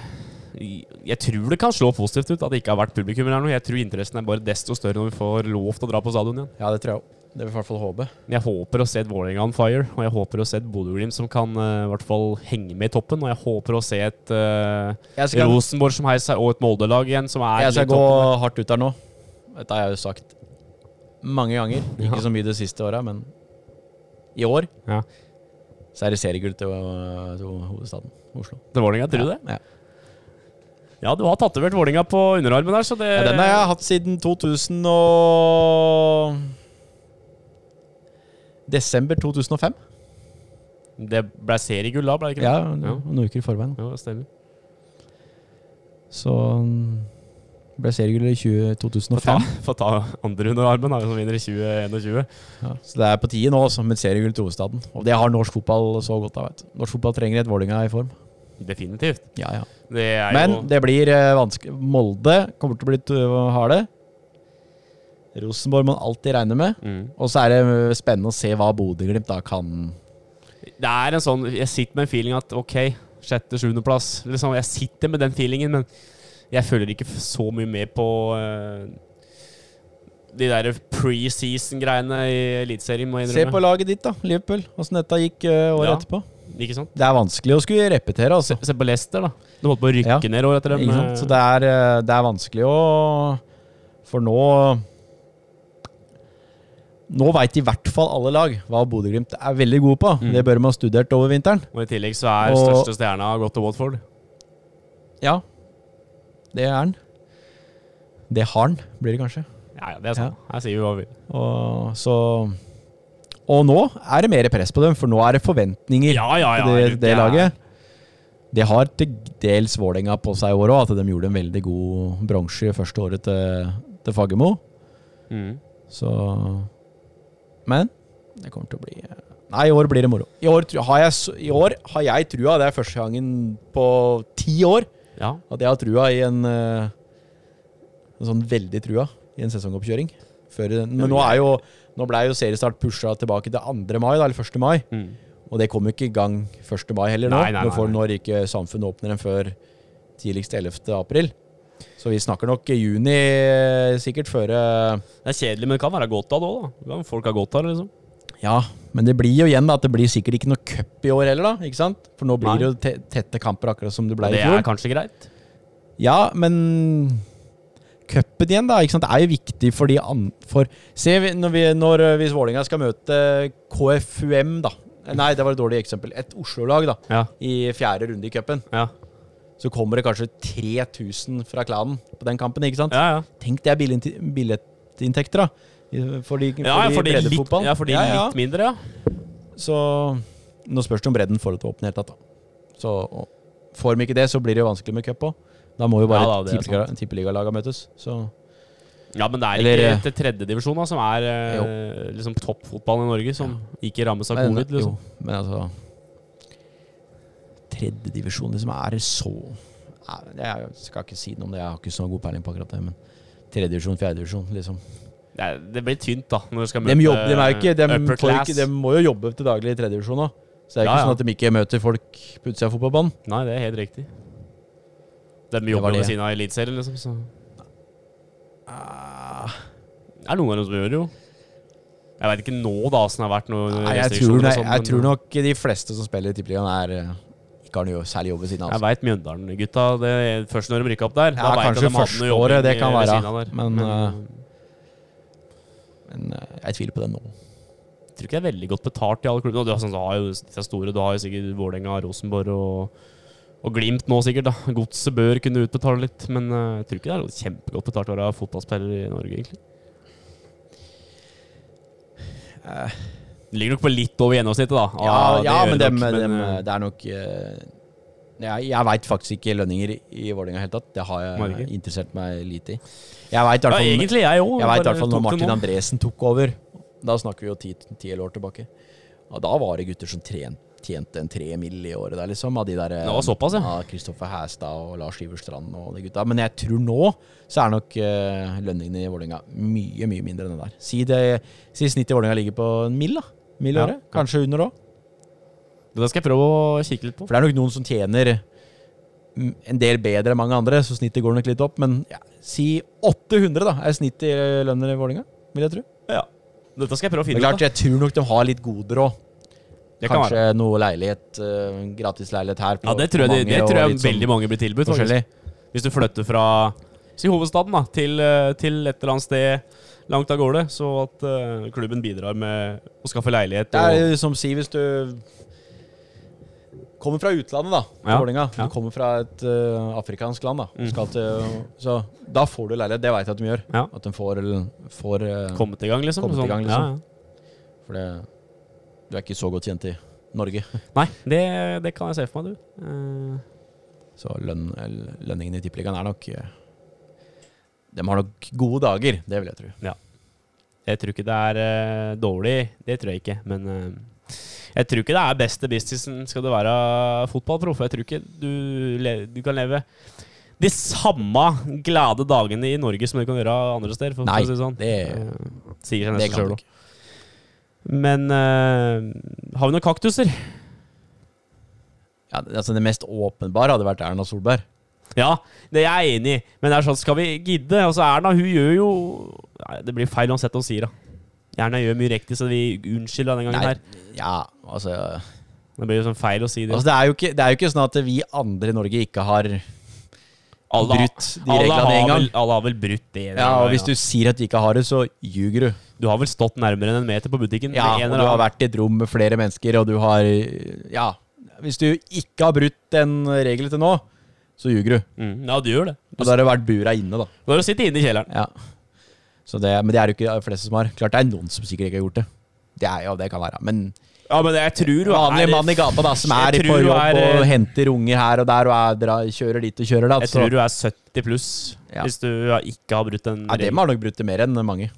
[SPEAKER 2] Jeg tror det kan slå positivt ut at det ikke har vært publikum eller noe. Jeg tror interessen er bare desto større når vi får lov til å dra på stadion igjen.
[SPEAKER 3] Ja, det tror jeg òg. Det vil jeg i hvert fall håpe.
[SPEAKER 2] Men Jeg håper å se et Vålerenga on fire, og jeg håper å se et Bodø-Glimt som kan eh, i hvert fall henge med i toppen. Og jeg håper å se et eh,
[SPEAKER 3] Jeg skal,
[SPEAKER 2] Rosenborg som heiser seg, og et Molde-lag igjen som er
[SPEAKER 3] jeg skal
[SPEAKER 2] litt
[SPEAKER 3] gå
[SPEAKER 2] toppen der.
[SPEAKER 3] hardt ut her nå. Dette har jeg jo sagt mange ganger. Ikke så mye det siste året, men i år.
[SPEAKER 2] Ja.
[SPEAKER 3] Så er det seriegull til, øh, til hovedstaden Oslo.
[SPEAKER 2] Til Vålinga, tror du det?
[SPEAKER 3] Ja.
[SPEAKER 2] Ja, du har tatovert Vålinga på underarmen der, så det
[SPEAKER 3] Ja, den har jeg hatt siden 2000 og Desember 2005.
[SPEAKER 2] Det ble seriegull da, ble det ikke det?
[SPEAKER 3] Ja, noen uker i forveien.
[SPEAKER 2] Jo, det stemmer.
[SPEAKER 3] Så mm, ble seriegull i 20
[SPEAKER 2] Få ta,
[SPEAKER 3] 2005.
[SPEAKER 2] få ta andre underarmen, da, som vinner i 2021.
[SPEAKER 3] Ja, så det er på tide nå også, med et seriegull til hovedstaden. Og det har norsk fotball så godt av. vet du. Norsk fotball trenger et Vålerenga i form.
[SPEAKER 2] Definitivt.
[SPEAKER 3] Ja, ja.
[SPEAKER 2] Det er
[SPEAKER 3] Men
[SPEAKER 2] jo
[SPEAKER 3] det blir eh, vanskelig. Molde kommer til å bli t- harde. Rosenborg må man alltid regne med.
[SPEAKER 2] mm.
[SPEAKER 3] Og så er det eh, spennende å se hva Bodø-Glimt da kan
[SPEAKER 2] Det er en sånn Jeg sitter med en feeling at ok, sjette-sjuendeplass liksom, Jeg sitter med den feelingen, men jeg følger ikke f- så mye med på eh, de der preseason-greiene i Eliteserien, må jeg
[SPEAKER 3] Se på
[SPEAKER 2] innrømme.
[SPEAKER 3] laget ditt, da. Liverpool. Åssen dette gikk eh, året
[SPEAKER 2] Ja.
[SPEAKER 3] etterpå.
[SPEAKER 2] Ikke sant?
[SPEAKER 3] Det er vanskelig å skulle repetere, altså.
[SPEAKER 2] Se på Leicester, da. De holdt på å rykke
[SPEAKER 3] Ja.
[SPEAKER 2] ned året etter dem.
[SPEAKER 3] Ikke sant?
[SPEAKER 2] eh,
[SPEAKER 3] Så det er, eh, det er vanskelig å For nå Nå veit i hvert fall alle lag hva Bodø-Glimt er veldig gode på.
[SPEAKER 2] Mm.
[SPEAKER 3] Det bør de ha studert over vinteren.
[SPEAKER 2] Og i tillegg så er
[SPEAKER 3] Og-
[SPEAKER 2] største stjerna gått til Watford.
[SPEAKER 3] Ja, det er han. Det har han, blir det kanskje.
[SPEAKER 2] Ja, ja, det er sånn. Her sier vi hva vi vil.
[SPEAKER 3] Og, så, og nå er det mer press på dem, for nå er det forventninger
[SPEAKER 2] Ja, ja, ja.
[SPEAKER 3] til det, det
[SPEAKER 2] er-
[SPEAKER 3] laget. Det har til dels Vålerenga på seg i år òg, at de gjorde en veldig god bronse første året til, til Fagermo.
[SPEAKER 2] Mm.
[SPEAKER 3] Så Men det kommer til å bli Nei, i år blir det moro. I år tru- har jeg, s- i år har jeg trua. Det er første gangen på ti år
[SPEAKER 2] Ja.
[SPEAKER 3] at jeg har trua i en, eh, en sånn veldig trua i en sesongoppkjøring. Før, den- men nå, er jo, nå ble jo seriestart pusha tilbake til 2. mai, da, eller 1. mai.
[SPEAKER 2] Mm.
[SPEAKER 3] Og det kom jo ikke i gang 1. mai heller nå.
[SPEAKER 2] Nei, nei,
[SPEAKER 3] nå
[SPEAKER 2] nei,
[SPEAKER 3] får
[SPEAKER 2] nei.
[SPEAKER 3] når ikke samfunnet åpner den før tidligst 11. april. Så vi snakker nok i juni eh, sikkert før eh,
[SPEAKER 2] Det er kjedelig, men det kan være godt av det òg, da. Kan Folk har godt av det, liksom.
[SPEAKER 3] Ja, men det blir jo igjen da, at det blir sikkert ikke noe cup i år heller, da. Ikke sant? For
[SPEAKER 2] Nei.
[SPEAKER 3] nå blir det jo te tette kamper, akkurat som det ble
[SPEAKER 2] Og
[SPEAKER 3] i
[SPEAKER 2] det
[SPEAKER 3] fjor.
[SPEAKER 2] er kanskje greit.
[SPEAKER 3] Ja, men cupen igjen, da. Ikke sant? Det er jo viktig for de an... For Se, vi- når vi, når, eh, hvis Vålerenga skal møte KFUM, da. Nei, det var et dårlig eksempel. Et Oslo-lag, da.
[SPEAKER 2] Ja.
[SPEAKER 3] I fjerde runde i cupen.
[SPEAKER 2] Ja.
[SPEAKER 3] Så kommer det kanskje 3000 fra klanen på den kampen, ikke sant?
[SPEAKER 2] Ja, ja.
[SPEAKER 3] Tenk det er billig- billettinntekter, da. i- For de, for
[SPEAKER 2] Ja,
[SPEAKER 3] de
[SPEAKER 2] for de litt,
[SPEAKER 3] breddefotball.
[SPEAKER 2] ja, for de litt mindre, ja.
[SPEAKER 3] Så nå spørs det om bredden får det til å åpne i det hele tatt. da. Så og får de ikke det, så blir det jo vanskelig med cup òg. Da må jo bare
[SPEAKER 2] Ja da, det er
[SPEAKER 3] tippeliga- tippeligalaga møtes. Så
[SPEAKER 2] Ja, men det er
[SPEAKER 3] Eller,
[SPEAKER 2] ikke
[SPEAKER 3] eh,
[SPEAKER 2] til tredjedivisjon, da, som er eh, liksom toppfotballen i Norge, som ikke rammes av
[SPEAKER 3] men,
[SPEAKER 2] covid, liksom.
[SPEAKER 3] jo, men altså Tredjedivisjon liksom er så Nei, Jeg skal ikke si noe om det, jeg har ikke så god peiling på akkurat det, men tredjedivisjon, fjerdedivisjon, liksom.
[SPEAKER 2] Det, er, det blir tynt, da, når du skal møte
[SPEAKER 3] De, jobber, de, er jo ikke,
[SPEAKER 2] eh,
[SPEAKER 3] de,
[SPEAKER 2] upper
[SPEAKER 3] får jo
[SPEAKER 2] class.
[SPEAKER 3] ikke, de må jo jobbe til daglig i tredjedivisjon òg. Så det er
[SPEAKER 2] Ja,
[SPEAKER 3] ikke
[SPEAKER 2] ja.
[SPEAKER 3] sånn at de ikke møter folk på utsida av fotballbanen.
[SPEAKER 2] Nei, det er helt riktig. De
[SPEAKER 3] var
[SPEAKER 2] jobber jo ved
[SPEAKER 3] det.
[SPEAKER 2] siden av Eliteserien, liksom, så Det er noen av dem som gjør det, jo. Jeg veit ikke nå, da, åssen det har vært noen
[SPEAKER 3] Nei, jeg tror,
[SPEAKER 2] restriksjoner og
[SPEAKER 3] nei,
[SPEAKER 2] sånt, men-
[SPEAKER 3] jeg tror nok de fleste som spiller i Tippeligaen, er eh, ikke har noe særlig jobb ved siden av.
[SPEAKER 2] Jeg
[SPEAKER 3] Altså.
[SPEAKER 2] veit Mjøndalen-gutta. det er Først når de rykka opp der.
[SPEAKER 3] Ja,
[SPEAKER 2] vet jeg at
[SPEAKER 3] kanskje
[SPEAKER 2] de hadde
[SPEAKER 3] første
[SPEAKER 2] noe jobbing
[SPEAKER 3] året, det kan
[SPEAKER 2] ved
[SPEAKER 3] være,
[SPEAKER 2] siden av der.
[SPEAKER 3] men, eh,
[SPEAKER 2] Men, eh,
[SPEAKER 3] Men eh, jeg tviler på det nå.
[SPEAKER 2] Jeg tror ikke det er veldig godt betalt i alle klubbene. Og du har, sånn, du har jo disse store, du har jo sikkert Vålerenga, Rosenborg og, og Glimt nå sikkert. da. Godset bør kunne utbetale litt, men eh, jeg tror ikke det er noe kjempegodt betalt å være fotballspiller i Norge, egentlig. Det Eh, ligger nok på litt over gjennomsnittet, da. Ah,
[SPEAKER 3] Ja,
[SPEAKER 2] det
[SPEAKER 3] ja
[SPEAKER 2] gjør
[SPEAKER 3] men,
[SPEAKER 2] det
[SPEAKER 3] dem,
[SPEAKER 2] nok,
[SPEAKER 3] dem,
[SPEAKER 2] eh,
[SPEAKER 3] eh, det er nok eh, Jeg, jeg veit faktisk ikke lønninger i Vålerenga i det hele tatt. Det har jeg
[SPEAKER 2] Marker.
[SPEAKER 3] interessert meg lite i. Jeg veit i
[SPEAKER 2] ja,
[SPEAKER 3] hvert fall
[SPEAKER 2] egentlig jeg òg.
[SPEAKER 3] Jeg vet i hvert fall når Martin Andresen tok over. Da snakker vi jo ti ti eller år tilbake. Og da var det gutter som tren- tjente en tre mill. i året der, liksom. Av de der
[SPEAKER 2] Det var såpass, ja.
[SPEAKER 3] Av Kristoffer Hæstad og Lars Iver Strand og de gutta. Men jeg tror nå så er nok eh, lønningene i Vålerenga mye, mye mindre enn det der. Si, det, si snittet i Vålerenga ligger på en mill, da. Mill i
[SPEAKER 2] Ja.
[SPEAKER 3] året. Kanskje under òg.
[SPEAKER 2] Det skal jeg prøve å kikke litt på.
[SPEAKER 3] For det er nok noen som tjener mm, en del bedre enn mange andre, så snittet går nok litt opp. Men ja, si 800, da, er snittet i lønner i Vålerenga, vil jeg tro.
[SPEAKER 2] Ja. Dette skal jeg prøve å
[SPEAKER 3] Det
[SPEAKER 2] finne
[SPEAKER 3] er klart,
[SPEAKER 2] ut.
[SPEAKER 3] jeg tror nok de har litt goder òg.
[SPEAKER 2] da. Det kan være.
[SPEAKER 3] Kanskje noe leilighet, eh, gratisleilighet her. på-
[SPEAKER 2] Ja, det tror jeg,
[SPEAKER 3] på
[SPEAKER 2] de- det
[SPEAKER 3] mange,
[SPEAKER 2] tror
[SPEAKER 3] og
[SPEAKER 2] jeg
[SPEAKER 3] litt sånn
[SPEAKER 2] veldig mange blir tilbudt. faktisk.
[SPEAKER 3] forskjellig.
[SPEAKER 2] Hvis du flytter fra si hovedstaden da, til, eh, til et eller annet sted langt av gårde, så at eh, klubben bidrar med å skaffe leilighet
[SPEAKER 3] Det er
[SPEAKER 2] og
[SPEAKER 3] jo som si hvis du Kommer fra utlandet, da.
[SPEAKER 2] Ja.
[SPEAKER 3] Ja. Vålinga.
[SPEAKER 2] Ja. Mm.
[SPEAKER 3] Du kommer fra et eh, afrikansk land, da. Skal til, så da får du leilighet. Det veit jeg at de gjør.
[SPEAKER 2] Ja.
[SPEAKER 3] At de får, får eh,
[SPEAKER 2] Kommet i gang, liksom?
[SPEAKER 3] Kommet i
[SPEAKER 2] sånn.
[SPEAKER 3] gang, liksom.
[SPEAKER 2] Ja, ja.
[SPEAKER 3] For det Du er ikke så godt kjent i Norge.
[SPEAKER 2] Nei, det, det kan jeg se for meg, du. Eh,
[SPEAKER 3] Så lønn, eller lønningen i Tippeligaen er nok eh, De har nok gode dager, det vil jeg tro.
[SPEAKER 2] jeg tror ikke det er eh, dårlig, det tror jeg ikke, men eh, jeg tror ikke det er beste businessen skal du være fotballproff. Jeg tror ikke du, le- du kan leve de samme glade dagene i Norge som du kan gjøre andre steder. For,
[SPEAKER 3] Nei,
[SPEAKER 2] for å si det sånn.
[SPEAKER 3] det-
[SPEAKER 2] Eh, sier seg
[SPEAKER 3] Det
[SPEAKER 2] nesten
[SPEAKER 3] kan
[SPEAKER 2] sjøl
[SPEAKER 3] du
[SPEAKER 2] òg. Men eh, har vi noen kaktuser? <laughs>
[SPEAKER 3] Ja, det- altså det mest åpenbare hadde vært Erna Solberg.
[SPEAKER 2] Ja, det er jeg enig i, men det er sånn, skal vi gidde? Altså, Erna hun gjør jo Nei, Det blir feil uansett hva hun sier, da. Erna gjør mye riktig, så vi unnskylder denne gangen
[SPEAKER 3] Nei,
[SPEAKER 2] her.
[SPEAKER 3] ja, altså,
[SPEAKER 2] Det blir jo sånn feil å si det.
[SPEAKER 3] altså det, er jo ikke, det er jo ikke sånn at vi andre i Norge ikke har
[SPEAKER 2] Alle-
[SPEAKER 3] brutt de
[SPEAKER 2] alle
[SPEAKER 3] reglene
[SPEAKER 2] har
[SPEAKER 3] en gang.
[SPEAKER 2] vel- Alle har vel brutt det. det
[SPEAKER 3] Ja,
[SPEAKER 2] er-
[SPEAKER 3] og Hvis du sier at du ikke har det, så ljuger du.
[SPEAKER 2] Du har vel stått nærmere enn en meter på butikken?
[SPEAKER 3] Ja,
[SPEAKER 2] med Mm, en
[SPEAKER 3] og
[SPEAKER 2] eller
[SPEAKER 3] du har
[SPEAKER 2] annen.
[SPEAKER 3] vært i et rom med flere mennesker, og du har Ja. Hvis du ikke har brutt den regelen til nå, så ljuger du.
[SPEAKER 2] Mm, ja, du gjør det.
[SPEAKER 3] Og da har det vært bura inne, da.
[SPEAKER 2] Du har jo sittet inne i kjelleren.
[SPEAKER 3] Ja. Så det, men det er jo ikke de fleste som har. Klart det er noen som sikkert ikke har gjort det. Det er jo, det kan være. Men
[SPEAKER 2] Ja, men jeg tror du
[SPEAKER 3] vanlig mann i gata da, som er
[SPEAKER 2] Jeg
[SPEAKER 3] på
[SPEAKER 2] tror du
[SPEAKER 3] jobb
[SPEAKER 2] er,
[SPEAKER 3] og
[SPEAKER 2] eh,
[SPEAKER 3] henter unger her og der og er, dra, kjører dit og kjører da.
[SPEAKER 2] Jeg
[SPEAKER 3] Så,
[SPEAKER 2] tror du er 70 pluss
[SPEAKER 3] Ja.
[SPEAKER 2] hvis du ikke har brutt den
[SPEAKER 3] ja, dem har nok brutt det mer enn mange.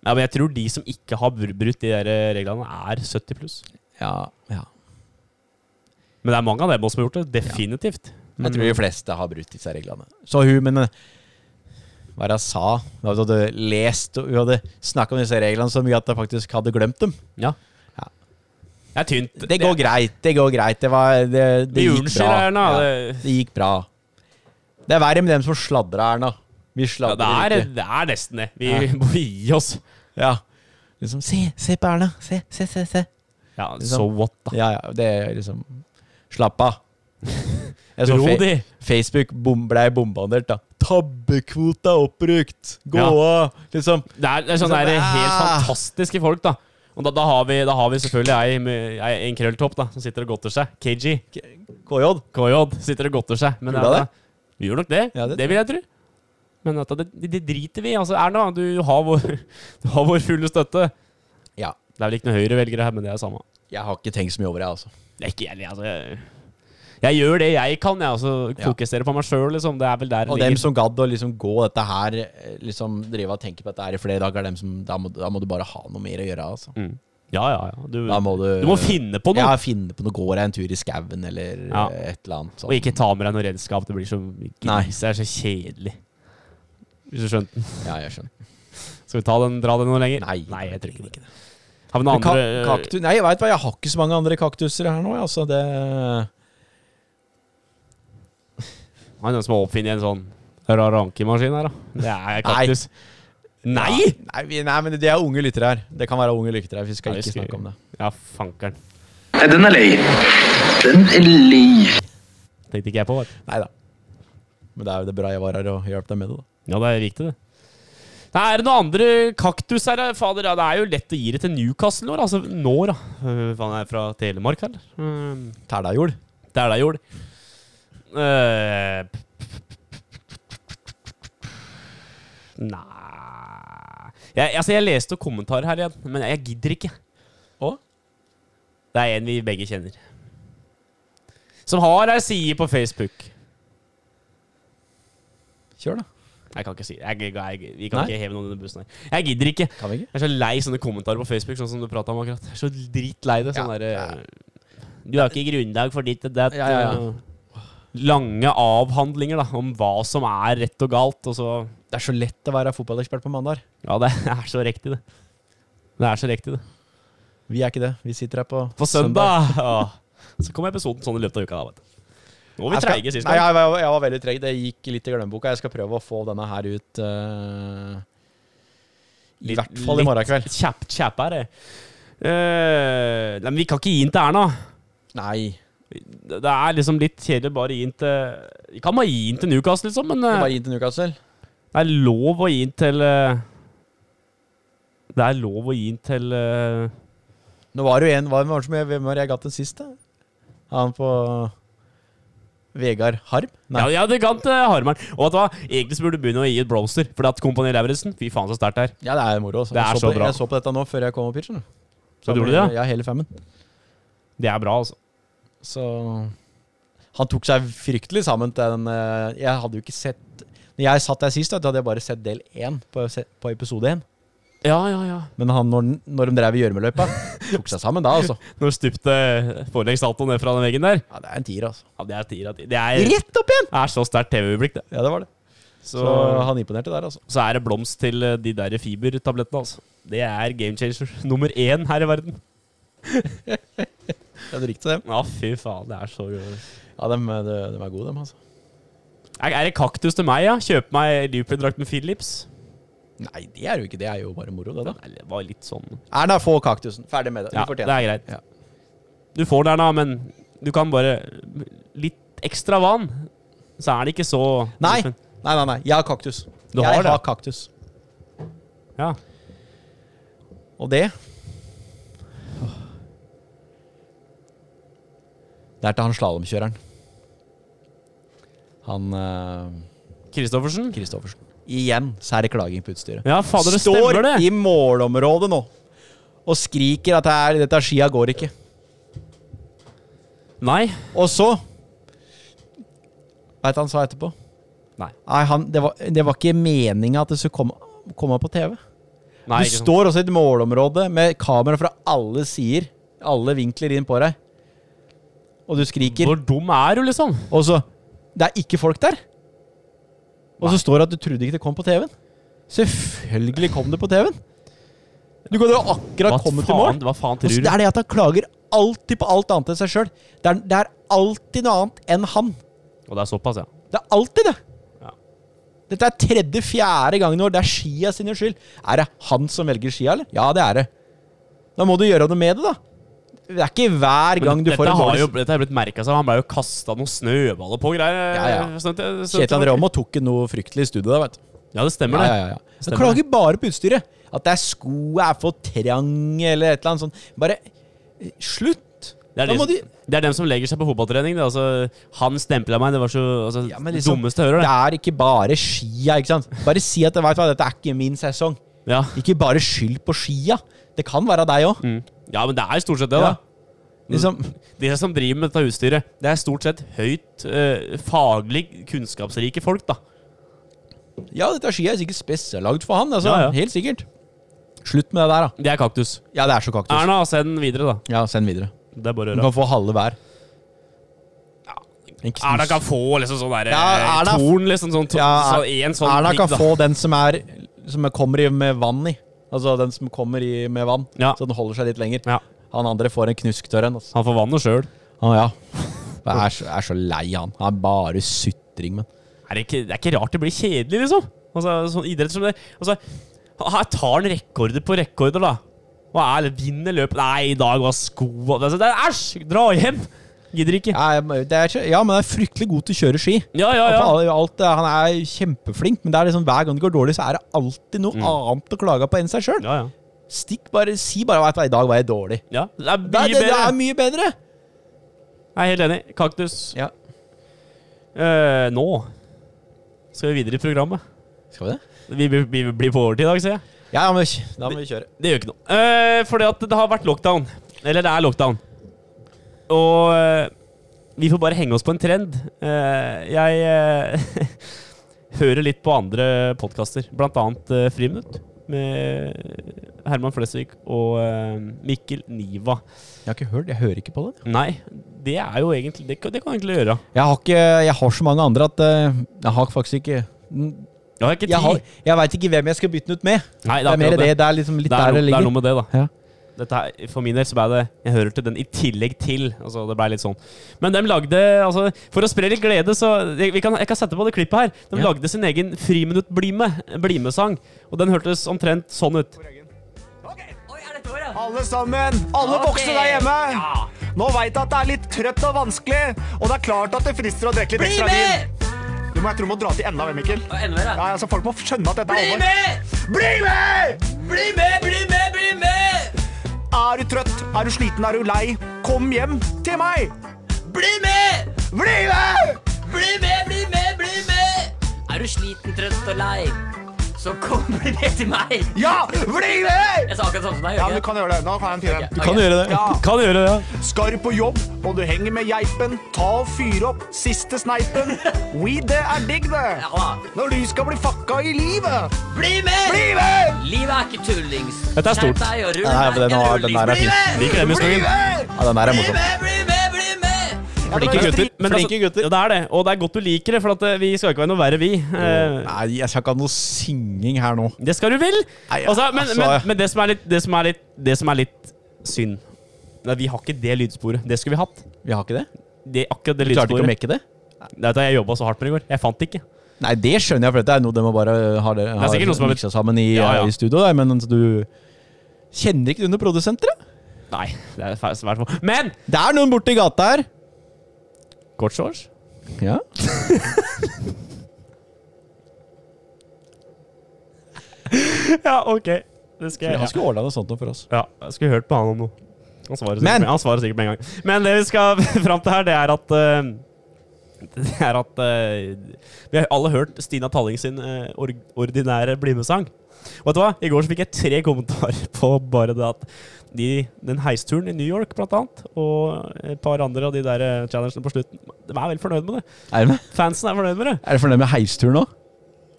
[SPEAKER 2] Ja, men jeg tror de som ikke har br- brutt de der eh, reglene, er 70 pluss.
[SPEAKER 3] Ja, ja.
[SPEAKER 2] Men det er mange av dem også som har gjort det. Definitivt.
[SPEAKER 3] Jeg tror de fleste har brutt disse reglene. Så hun, men eh, hva er det hun sa? Hun hadde lest og hun hadde snakket om disse reglene så mye at hun faktisk hadde glemt dem.
[SPEAKER 2] Ja.
[SPEAKER 3] Ja.
[SPEAKER 2] Det er tynt.
[SPEAKER 3] Det går greit, det går greit. Det, var, det, det
[SPEAKER 2] Vi
[SPEAKER 3] gikk bra.
[SPEAKER 2] unnskylder Erna.
[SPEAKER 3] Ja.
[SPEAKER 2] Det,
[SPEAKER 3] Det gikk bra. Det er verre med dem som sladra, Erna. Vi
[SPEAKER 2] ja, det,
[SPEAKER 3] sladrer
[SPEAKER 2] er,
[SPEAKER 3] ikke.
[SPEAKER 2] det er nesten det. Vi
[SPEAKER 3] Ja.
[SPEAKER 2] <laughs> må gi oss.
[SPEAKER 3] Ja. Liksom, se, se på Erna. Se, se, se. se.
[SPEAKER 2] Ja,
[SPEAKER 3] Liksom.
[SPEAKER 2] so what, da.
[SPEAKER 3] Ja, ja, det er liksom Slapp <laughs> av. Jeg så
[SPEAKER 2] Ro
[SPEAKER 3] sånn fe
[SPEAKER 2] de.
[SPEAKER 3] Facebook bom blei bombardert, da. Tabbekvota er oppbrukt! Gå av! Liksom.
[SPEAKER 2] Det er, det er sånne
[SPEAKER 3] Liksom,
[SPEAKER 2] der helt
[SPEAKER 3] ah.
[SPEAKER 2] fantastiske folk, da. Og da, da, har, vi, da har vi selvfølgelig ei, med- ei, en krølltopp da, som sitter og godter seg. KG.
[SPEAKER 3] KJ.
[SPEAKER 2] KJ sitter og godter seg. Men
[SPEAKER 3] Tror du
[SPEAKER 2] ja,
[SPEAKER 3] det?
[SPEAKER 2] vi gjør nok det.
[SPEAKER 3] Ja,
[SPEAKER 2] det,
[SPEAKER 3] det
[SPEAKER 2] vil jeg tro. Men at det, det, det driter vi i. Altså, Erna, du har, vår, <laughs> du har vår fulle støtte.
[SPEAKER 3] Ja.
[SPEAKER 2] Det er vel ikke noen Høyre-velgere her, men det er samme.
[SPEAKER 3] Jeg har ikke tenkt så mye over det, altså.
[SPEAKER 2] Det er ikke jeg, altså. Jeg, jeg gjør det jeg kan, jeg. Altså,
[SPEAKER 3] Ja.
[SPEAKER 2] fokuserer på meg sjøl, liksom. Det er vel der
[SPEAKER 3] Og
[SPEAKER 2] det
[SPEAKER 3] dem
[SPEAKER 2] ligger.
[SPEAKER 3] som gadd å liksom gå dette her, eh, liksom drive og tenke på dette her i flere dager, dem som, da, må, da må du bare ha noe mer å gjøre, altså.
[SPEAKER 2] Mm. Ja, ja, ja. Du,
[SPEAKER 3] Da må du
[SPEAKER 2] du må finne på noe.
[SPEAKER 3] Ja, finne på noe. Går jeg en tur i skauen, eller
[SPEAKER 2] Ja.
[SPEAKER 3] eh, et eller annet. sånt.
[SPEAKER 2] Og ikke ta med deg noe redskap. Det blir så
[SPEAKER 3] Nei.
[SPEAKER 2] grise. Det er så kjedelig. Hvis du skjønte den.
[SPEAKER 3] Ja, jeg skjønner.
[SPEAKER 2] Skal vi ta den, dra den noe lenger?
[SPEAKER 3] Nei,
[SPEAKER 2] jeg tror ikke det. Har vi noen
[SPEAKER 3] Ka
[SPEAKER 2] andre øh,
[SPEAKER 3] kaktus Nei, jeg veit hva, jeg har ikke så mange andre kaktuser her nå, jeg, altså. Det
[SPEAKER 2] Har vi noen som har oppfunnet en sånn rarankemaskin her, da? Det er kaktus. Nei!
[SPEAKER 3] Nei, vi, nei men det er unge lyttere her. Det kan være unge lyttere her. Vi skal
[SPEAKER 2] Nei, vi
[SPEAKER 3] ikke
[SPEAKER 2] skal-
[SPEAKER 3] snakke om det.
[SPEAKER 2] Ja, fankeren.
[SPEAKER 4] Nei, den er lei. Den er lei.
[SPEAKER 2] Tenkte ikke jeg på. vet du.
[SPEAKER 3] Nei da. Men det er jo det bra jeg var her og hjalp deg med det, da.
[SPEAKER 2] Ja, det er riktig, det. Nei, er det noen andre kaktus her, da? fader? Ja, det er jo lett å gi det til Newcastle nå, da. altså. Nå, da. Øh, Faen, jeg er fra Telemark, eller? Mm.
[SPEAKER 3] Tæljord.
[SPEAKER 2] Det er det jeg gjorde. Eh, Nei jeg, altså jeg leste kommentarer her igjen, men jeg gidder ikke.
[SPEAKER 3] Å?
[SPEAKER 2] Det er en vi begge kjenner. Som har ei side på Facebook.
[SPEAKER 3] Kjør, da.
[SPEAKER 2] Jeg kan ikke si det. Jeg, jeg, jeg, vi kan
[SPEAKER 3] Nei?
[SPEAKER 2] ikke heve noen under bussen her. Jeg gidder ikke.
[SPEAKER 3] Kan vi ikke?
[SPEAKER 2] Jeg er så lei sånne kommentarer på Facebook, sånn som du prata om akkurat. Jeg er så dritlei det. Sånn
[SPEAKER 3] Ja,
[SPEAKER 2] derre Du har ikke grunnlag for ditt og datt.
[SPEAKER 3] Ja, ja, ja.
[SPEAKER 2] og Lange avhandlinger da, om hva som er rett og galt, og så
[SPEAKER 3] Det er så lett å være fotballekspert på mandag.
[SPEAKER 2] Ja, det <laughs> er så riktig, det. Det er så riktig, det.
[SPEAKER 3] Vi er ikke det. Vi sitter her på
[SPEAKER 2] På søndag! Ja. Så kommer episoden sånn i løpet av uka, da, vet du. Nå var vi
[SPEAKER 3] Jeg skal-
[SPEAKER 2] treige sist
[SPEAKER 3] Nei,
[SPEAKER 2] gang.
[SPEAKER 3] jeg, var- jeg var veldig treg. Det gikk litt i glemmeboka. Jeg skal prøve å få denne her ut eh, I
[SPEAKER 2] Litt-
[SPEAKER 3] hvert fall i morgen kveld.
[SPEAKER 2] Litt kjapp, kjapp her, det. Eh, nei, men vi kan ikke gi den til Erna.
[SPEAKER 3] Nei.
[SPEAKER 2] Det det er liksom litt kjedelig å bare gi den til Vi kan bare gi den til Newcastle, liksom, men eh,
[SPEAKER 3] Bare gi den til Newcastle.
[SPEAKER 2] Det er lov å gi den til eh, Det er lov å gi den til eh,
[SPEAKER 3] Nå var det jo en Hva var det som jeg, Hvem var det jeg ga til sist, da? Han på Vegard Harm?
[SPEAKER 2] Ja,
[SPEAKER 3] Nei.
[SPEAKER 2] ja, det kan eh, Harman. Og at hva, egentlig så burde du begynne å gi et broster. For at Kompani Lauritzen Fy faen, så sterkt det er.
[SPEAKER 3] Ja, det er moro. Også.
[SPEAKER 2] Det er
[SPEAKER 3] jeg,
[SPEAKER 2] så
[SPEAKER 3] på,
[SPEAKER 2] bra.
[SPEAKER 3] jeg så på dette nå før jeg kom opp hit. skjønner du.
[SPEAKER 2] Så gjorde du det?
[SPEAKER 3] Ja, hele femmen.
[SPEAKER 2] Det er bra, altså.
[SPEAKER 3] Så Han tok seg fryktelig sammen til den eh, Jeg hadde jo ikke sett Når jeg satt der sist, da, da hadde jeg bare sett del én på, se- på episode én.
[SPEAKER 2] Ja, ja, ja.
[SPEAKER 3] Men han, når, den- når de drev
[SPEAKER 2] <laughs>
[SPEAKER 3] i gjørmeløypa, tok seg sammen da, altså.
[SPEAKER 2] Når stupte eh, foreleggssalto ned fra den veggen der.
[SPEAKER 3] Ja, det er en tier, altså.
[SPEAKER 2] Ja, det er tier av ti. Det er,
[SPEAKER 3] Rett opp igjen!
[SPEAKER 2] er så sterkt TV-øyeblikk, det.
[SPEAKER 3] Ja, det var det.
[SPEAKER 2] Så,
[SPEAKER 3] Så han imponerte der, altså.
[SPEAKER 2] så er det blomst til eh, de der fibertablettene, altså. Det er game changer <laughs> nummer én her i verden.
[SPEAKER 3] Ja, du likte dem?
[SPEAKER 2] Ja, fy faen, det er så gøy.
[SPEAKER 3] Ja, dem, eh, de, de er gode, dem, altså.
[SPEAKER 2] Er, er det kaktus til meg, ja? Kjøpe meg Liverpool-drakten Philips?
[SPEAKER 3] Nei, det er jo ikke det. Det er jo bare moro, det, da.
[SPEAKER 2] Nei, Det var litt sånn
[SPEAKER 3] Erna, få kaktusen. Ferdig med det. Du
[SPEAKER 2] Ja, det
[SPEAKER 3] fortjener
[SPEAKER 2] er greit.
[SPEAKER 3] Ja.
[SPEAKER 2] Du får den, da, men du kan bare Litt ekstra vann, så er det ikke så
[SPEAKER 3] Nei. nei, nei, nei. Jeg har kaktus.
[SPEAKER 2] Du
[SPEAKER 3] jeg
[SPEAKER 2] har det?
[SPEAKER 3] kaktus.
[SPEAKER 2] Ja.
[SPEAKER 3] Og det Det er til han slalåmkjøreren. Han eh,
[SPEAKER 2] Kristoffersen?
[SPEAKER 3] Kristoffersen. Igjen så er det klaging på utstyret.
[SPEAKER 2] Ja, fader, det
[SPEAKER 3] Står
[SPEAKER 2] stemmer, det!
[SPEAKER 3] i målområdet nå og skriker at det er, dette skia går ikke.
[SPEAKER 2] Nei.
[SPEAKER 3] Og så Veit du hva han sa etterpå?
[SPEAKER 2] Nei.
[SPEAKER 3] Nei, han, det, var, det var ikke meninga at det skulle komme, komme på TV.
[SPEAKER 2] Nei
[SPEAKER 3] Du
[SPEAKER 2] ikke sant.
[SPEAKER 3] står også i et målområde med kamera fra alle sider. Alle vinkler inn på deg. Og du skriker.
[SPEAKER 2] Hvor dum er du, liksom?
[SPEAKER 3] Og så Det er ikke folk der! Og så står det at du trodde ikke det kom på TV-en. Selvfølgelig kom det på TV-en! Du kan jo akkurat komme til mål.
[SPEAKER 2] faen, hva faen
[SPEAKER 3] Og så
[SPEAKER 2] tror du?
[SPEAKER 3] det er det at han klager alltid på alt annet enn seg sjøl. Det, er- det er alltid noe annet enn han.
[SPEAKER 2] Og det er såpass, ja.
[SPEAKER 3] Det er alltid det.
[SPEAKER 2] Ja.
[SPEAKER 3] Dette er tredje-fjerde gangen i år. Det er skia sine skyld. Er det han som velger skia, eller? Ja, det er det. Da må du gjøre noe med det, da. Det er ikke hver gang du
[SPEAKER 2] dette,
[SPEAKER 3] får en
[SPEAKER 2] har
[SPEAKER 3] dårlig
[SPEAKER 2] jo, dette har blitt merka seg. Han ble jo kasta noen snøballer på og greier.
[SPEAKER 3] Ja, ja.
[SPEAKER 2] Sånn at jeg- sånn at-
[SPEAKER 3] Kjetil André Aamodt tok ikke noe fryktelig i studiet da, vet du.
[SPEAKER 2] Ja, det stemmer,
[SPEAKER 3] Ja,
[SPEAKER 2] det.
[SPEAKER 3] ja, ja, ja. Han
[SPEAKER 2] Stemmer
[SPEAKER 3] klager bare på utstyret. At det er sko er for trange, eller et eller annet sånt. Bare eh, slutt!
[SPEAKER 2] Det er,
[SPEAKER 3] Da
[SPEAKER 2] de,
[SPEAKER 3] må
[SPEAKER 2] som-
[SPEAKER 3] de
[SPEAKER 2] det er dem som legger seg på fotballtrening. Det er altså, han stempla meg, det var så altså,
[SPEAKER 3] Ja, men liksom,
[SPEAKER 2] dummeste jeg hører,
[SPEAKER 3] Det
[SPEAKER 2] det.
[SPEAKER 3] er ikke bare skia, ikke sant? Bare si at vet du hva, dette er ikke min sesong.
[SPEAKER 2] Ja.
[SPEAKER 3] Ikke bare skyld på skia. Det kan være deg òg.
[SPEAKER 2] Mm. ja, Mm. men det er stort sett det, da.
[SPEAKER 3] Ja. Liksom,
[SPEAKER 2] De som driver med dette utstyret, det er stort sett høyt eh, faglig kunnskapsrike folk, da.
[SPEAKER 3] ja, dette skia er sikkert spesiallagd for han. Altså,
[SPEAKER 2] Ja, ja.
[SPEAKER 3] Helt sikkert. Slutt med det der, da.
[SPEAKER 2] Det er kaktus.
[SPEAKER 3] Ja, det er så kaktus.
[SPEAKER 2] Erna, send den videre, da.
[SPEAKER 3] Ja, send videre.
[SPEAKER 2] Det er bare å
[SPEAKER 3] Du
[SPEAKER 2] gjøre.
[SPEAKER 3] kan få halve hver. En knus-
[SPEAKER 2] Erna kan få liksom sånn der
[SPEAKER 3] Ja,
[SPEAKER 2] eh,
[SPEAKER 3] Erna-
[SPEAKER 2] torn, liksom. Sånn, to,
[SPEAKER 3] Ja,
[SPEAKER 2] så, en sånn
[SPEAKER 3] Erna
[SPEAKER 2] pikk,
[SPEAKER 3] kan
[SPEAKER 2] da.
[SPEAKER 3] få den som er Som kommer i med vann i. Altså den som kommer i med vann,
[SPEAKER 2] Ja.
[SPEAKER 3] så den holder seg litt lenger.
[SPEAKER 2] Ja.
[SPEAKER 3] Han andre får en knusktørr en. Altså.
[SPEAKER 2] Han får vannet sjøl. <laughs>
[SPEAKER 3] Å ja. Jeg er, så, jeg er så lei han. Han er bare sutring, men.
[SPEAKER 2] er det, ikke, det er ikke rart det blir kjedelig, liksom. Altså, sånn idrett som det. Altså, her tar han rekorder på rekorder, da. Og er, vinner løpet. Nei, i dag var sko altså, det er, Æsj! Dra hjem! Gidder ikke.
[SPEAKER 3] Ja, jeg- det er, ikke- ja, men han er fryktelig god til å kjøre ski.
[SPEAKER 2] Ja, ja,
[SPEAKER 3] Og
[SPEAKER 2] ja.
[SPEAKER 3] på alle- Alt, eh, han er kjempeflink, men det er liksom, hver gang det går dårlig, så er det alltid noe
[SPEAKER 2] Mm.
[SPEAKER 3] annet å klage på enn seg sjøl.
[SPEAKER 2] ja, ja.
[SPEAKER 3] Stikk bare, Si bare at i dag var jeg dårlig.
[SPEAKER 2] ja. Det er
[SPEAKER 3] Det
[SPEAKER 2] mye
[SPEAKER 3] er, det, det
[SPEAKER 2] bedre.
[SPEAKER 3] er mye bedre!
[SPEAKER 2] Jeg er helt enig. Kaktus.
[SPEAKER 3] Ja.
[SPEAKER 2] Eh, nå skal vi videre i programmet.
[SPEAKER 3] Skal vi det?
[SPEAKER 2] Vi, vi, vi blir på overtid i dag, ser jeg.
[SPEAKER 3] Ja, men da må vi kjøre.
[SPEAKER 2] Det gjør ikke noe. Eh, fordi at det har vært lockdown. Eller det er lockdown. Og eh, vi får bare henge oss på en trend. Eh, jeg eh, <laughs> hører litt på andre podkaster, blant annet eh, Friminutt. Med Herman Flesvig og eh, Mikkel Niva.
[SPEAKER 3] Jeg har ikke hørt, jeg hører ikke på det.
[SPEAKER 2] Nei, det er jo egentlig Det, kan- det kan egentlig gjøre.
[SPEAKER 3] Jeg har, ikke, jeg har så mange andre at eh, jeg har faktisk ikke
[SPEAKER 2] Jeg har ikke tid.
[SPEAKER 3] Jeg, har- jeg veit ikke hvem jeg skal bytte den ut med.
[SPEAKER 2] Nei,
[SPEAKER 3] Det er mer
[SPEAKER 2] akkurat
[SPEAKER 3] det. Det er liksom litt
[SPEAKER 2] Det er,
[SPEAKER 3] der det
[SPEAKER 2] noe, det er
[SPEAKER 3] ligger.
[SPEAKER 2] noe med det, da.
[SPEAKER 3] Ja.
[SPEAKER 2] Dette her, for min del så ble det Jeg hører til den i tillegg til. Altså, det ble litt sånn. Men de lagde altså, For å spre litt glede, så jeg, vi kan, jeg kan sette på det klippet her. De
[SPEAKER 3] Ja.
[SPEAKER 2] lagde sin egen Friminutt-blime. Blimesang. Og den hørtes omtrent sånn ut.
[SPEAKER 5] Oi, er dette vår, ja?
[SPEAKER 6] Alle sammen, alle
[SPEAKER 5] Ok.
[SPEAKER 6] voksne der hjemme. Nå veit jeg at det er litt trøtt og vanskelig, og det er klart at det frister å drikke litt
[SPEAKER 5] Bli
[SPEAKER 6] ekstra vin.
[SPEAKER 5] med!
[SPEAKER 6] Du må jeg tror du må dra til enda mer, Mikkel.
[SPEAKER 5] Og enda mer,
[SPEAKER 6] Ja,
[SPEAKER 5] ja.
[SPEAKER 6] altså, folk må skjønne at dette er
[SPEAKER 5] Bli
[SPEAKER 6] alvor.
[SPEAKER 5] med!
[SPEAKER 6] Bli med!
[SPEAKER 5] Bli med, bli med, bli med!
[SPEAKER 6] Er du trøtt? Er du sliten? Er du lei? Kom hjem til meg!
[SPEAKER 5] Bli med!
[SPEAKER 6] Bli med!
[SPEAKER 5] Bli med, bli med, bli med! Er du sliten, trøtt og lei, så kom <laughs> bli med til meg.
[SPEAKER 6] Ja, bli med!
[SPEAKER 5] Jeg sa akkurat sånn som deg, gjør
[SPEAKER 6] Ja, du
[SPEAKER 5] jeg ikke?
[SPEAKER 6] kan gjøre det. Nå kan jeg en fire.
[SPEAKER 5] Ok.
[SPEAKER 2] Kan gjøre det.
[SPEAKER 6] Ja.
[SPEAKER 2] Kan gjøre det.
[SPEAKER 6] Skarp på jobb, og du henger med geipen. Ta og fyr opp siste sneipen. Weed, det er digg, det.
[SPEAKER 5] Ja da.
[SPEAKER 6] Når du skal bli fucka i livet.
[SPEAKER 5] Bli med!
[SPEAKER 6] Bli med!
[SPEAKER 5] Livet er ikke tullings.
[SPEAKER 2] Dette er stort.
[SPEAKER 5] Skjerp deg og rull
[SPEAKER 3] Nei, men
[SPEAKER 5] deg
[SPEAKER 3] den
[SPEAKER 5] en
[SPEAKER 3] har- den
[SPEAKER 5] rullings.
[SPEAKER 3] der er
[SPEAKER 5] Bli
[SPEAKER 3] fin.
[SPEAKER 5] med!
[SPEAKER 2] Liker den
[SPEAKER 6] Bli
[SPEAKER 2] historien.
[SPEAKER 6] med!
[SPEAKER 3] Ja, den her er
[SPEAKER 5] Bli
[SPEAKER 3] morsom.
[SPEAKER 5] med, bli med, bli med!
[SPEAKER 2] Flinke
[SPEAKER 6] Ja, det er
[SPEAKER 2] gutter. Men altså,
[SPEAKER 3] Flinke gutter.
[SPEAKER 2] Ja, det er det. Og det er godt du liker det, for at eh, vi skal ikke være noe verre, vi. Eh,
[SPEAKER 3] Nei, jeg skal ikke ha noe synging her nå.
[SPEAKER 2] Det skal du vel!
[SPEAKER 3] Nei, ja,
[SPEAKER 2] Altså, men
[SPEAKER 3] altså, ja.
[SPEAKER 2] men, men det, som er litt, det, som er litt, det som er litt synd Nei, Vi har ikke det lydsporet. Det skulle vi hatt.
[SPEAKER 3] Vi har ikke det?
[SPEAKER 2] Det, akkurat det
[SPEAKER 3] Du klarte ikke å
[SPEAKER 2] lydsporet.
[SPEAKER 3] mekke det?
[SPEAKER 2] Nei, vet du, jeg jobba så hardt med det i går. Jeg fant det ikke.
[SPEAKER 3] Nei, det skjønner jeg, for dette er noe de bare øh, har, har
[SPEAKER 2] sikkert noe som er blitt-
[SPEAKER 3] miksa sammen i, øh,
[SPEAKER 2] Ja, ja.
[SPEAKER 3] i studio. Der, men altså, du kjenner ikke du noen produsenter? da?
[SPEAKER 2] Nei, det er fæ- svært få. Men
[SPEAKER 3] Det er noen borti gata her.
[SPEAKER 2] kort shorts
[SPEAKER 3] Ja.
[SPEAKER 2] <laughs> Ja, ok. Det skal jeg
[SPEAKER 3] Han skulle ordna noe sånt noe for oss.
[SPEAKER 2] Ja, jeg skulle hørt på han om noe. Han svarer sikkert,
[SPEAKER 3] Men-
[SPEAKER 2] med, han svarer sikkert med en gang. Men det vi skal <laughs> fram til her, det er at eh, <laughs> Det er at eh, Vi har alle hørt Stina Talling sin eh, or ordinære BlimE-sang. Og vet du hva? I går så fikk jeg tre kommentarer <laughs> på bare det at de, den heisturen i New York, blant annet, og et par andre av de der eh, challengene på slutten, de er veldig fornøyd med det.
[SPEAKER 3] Er du med?
[SPEAKER 2] Fansen er fornøyd med det.
[SPEAKER 3] Er du fornøyd med heisturen nå?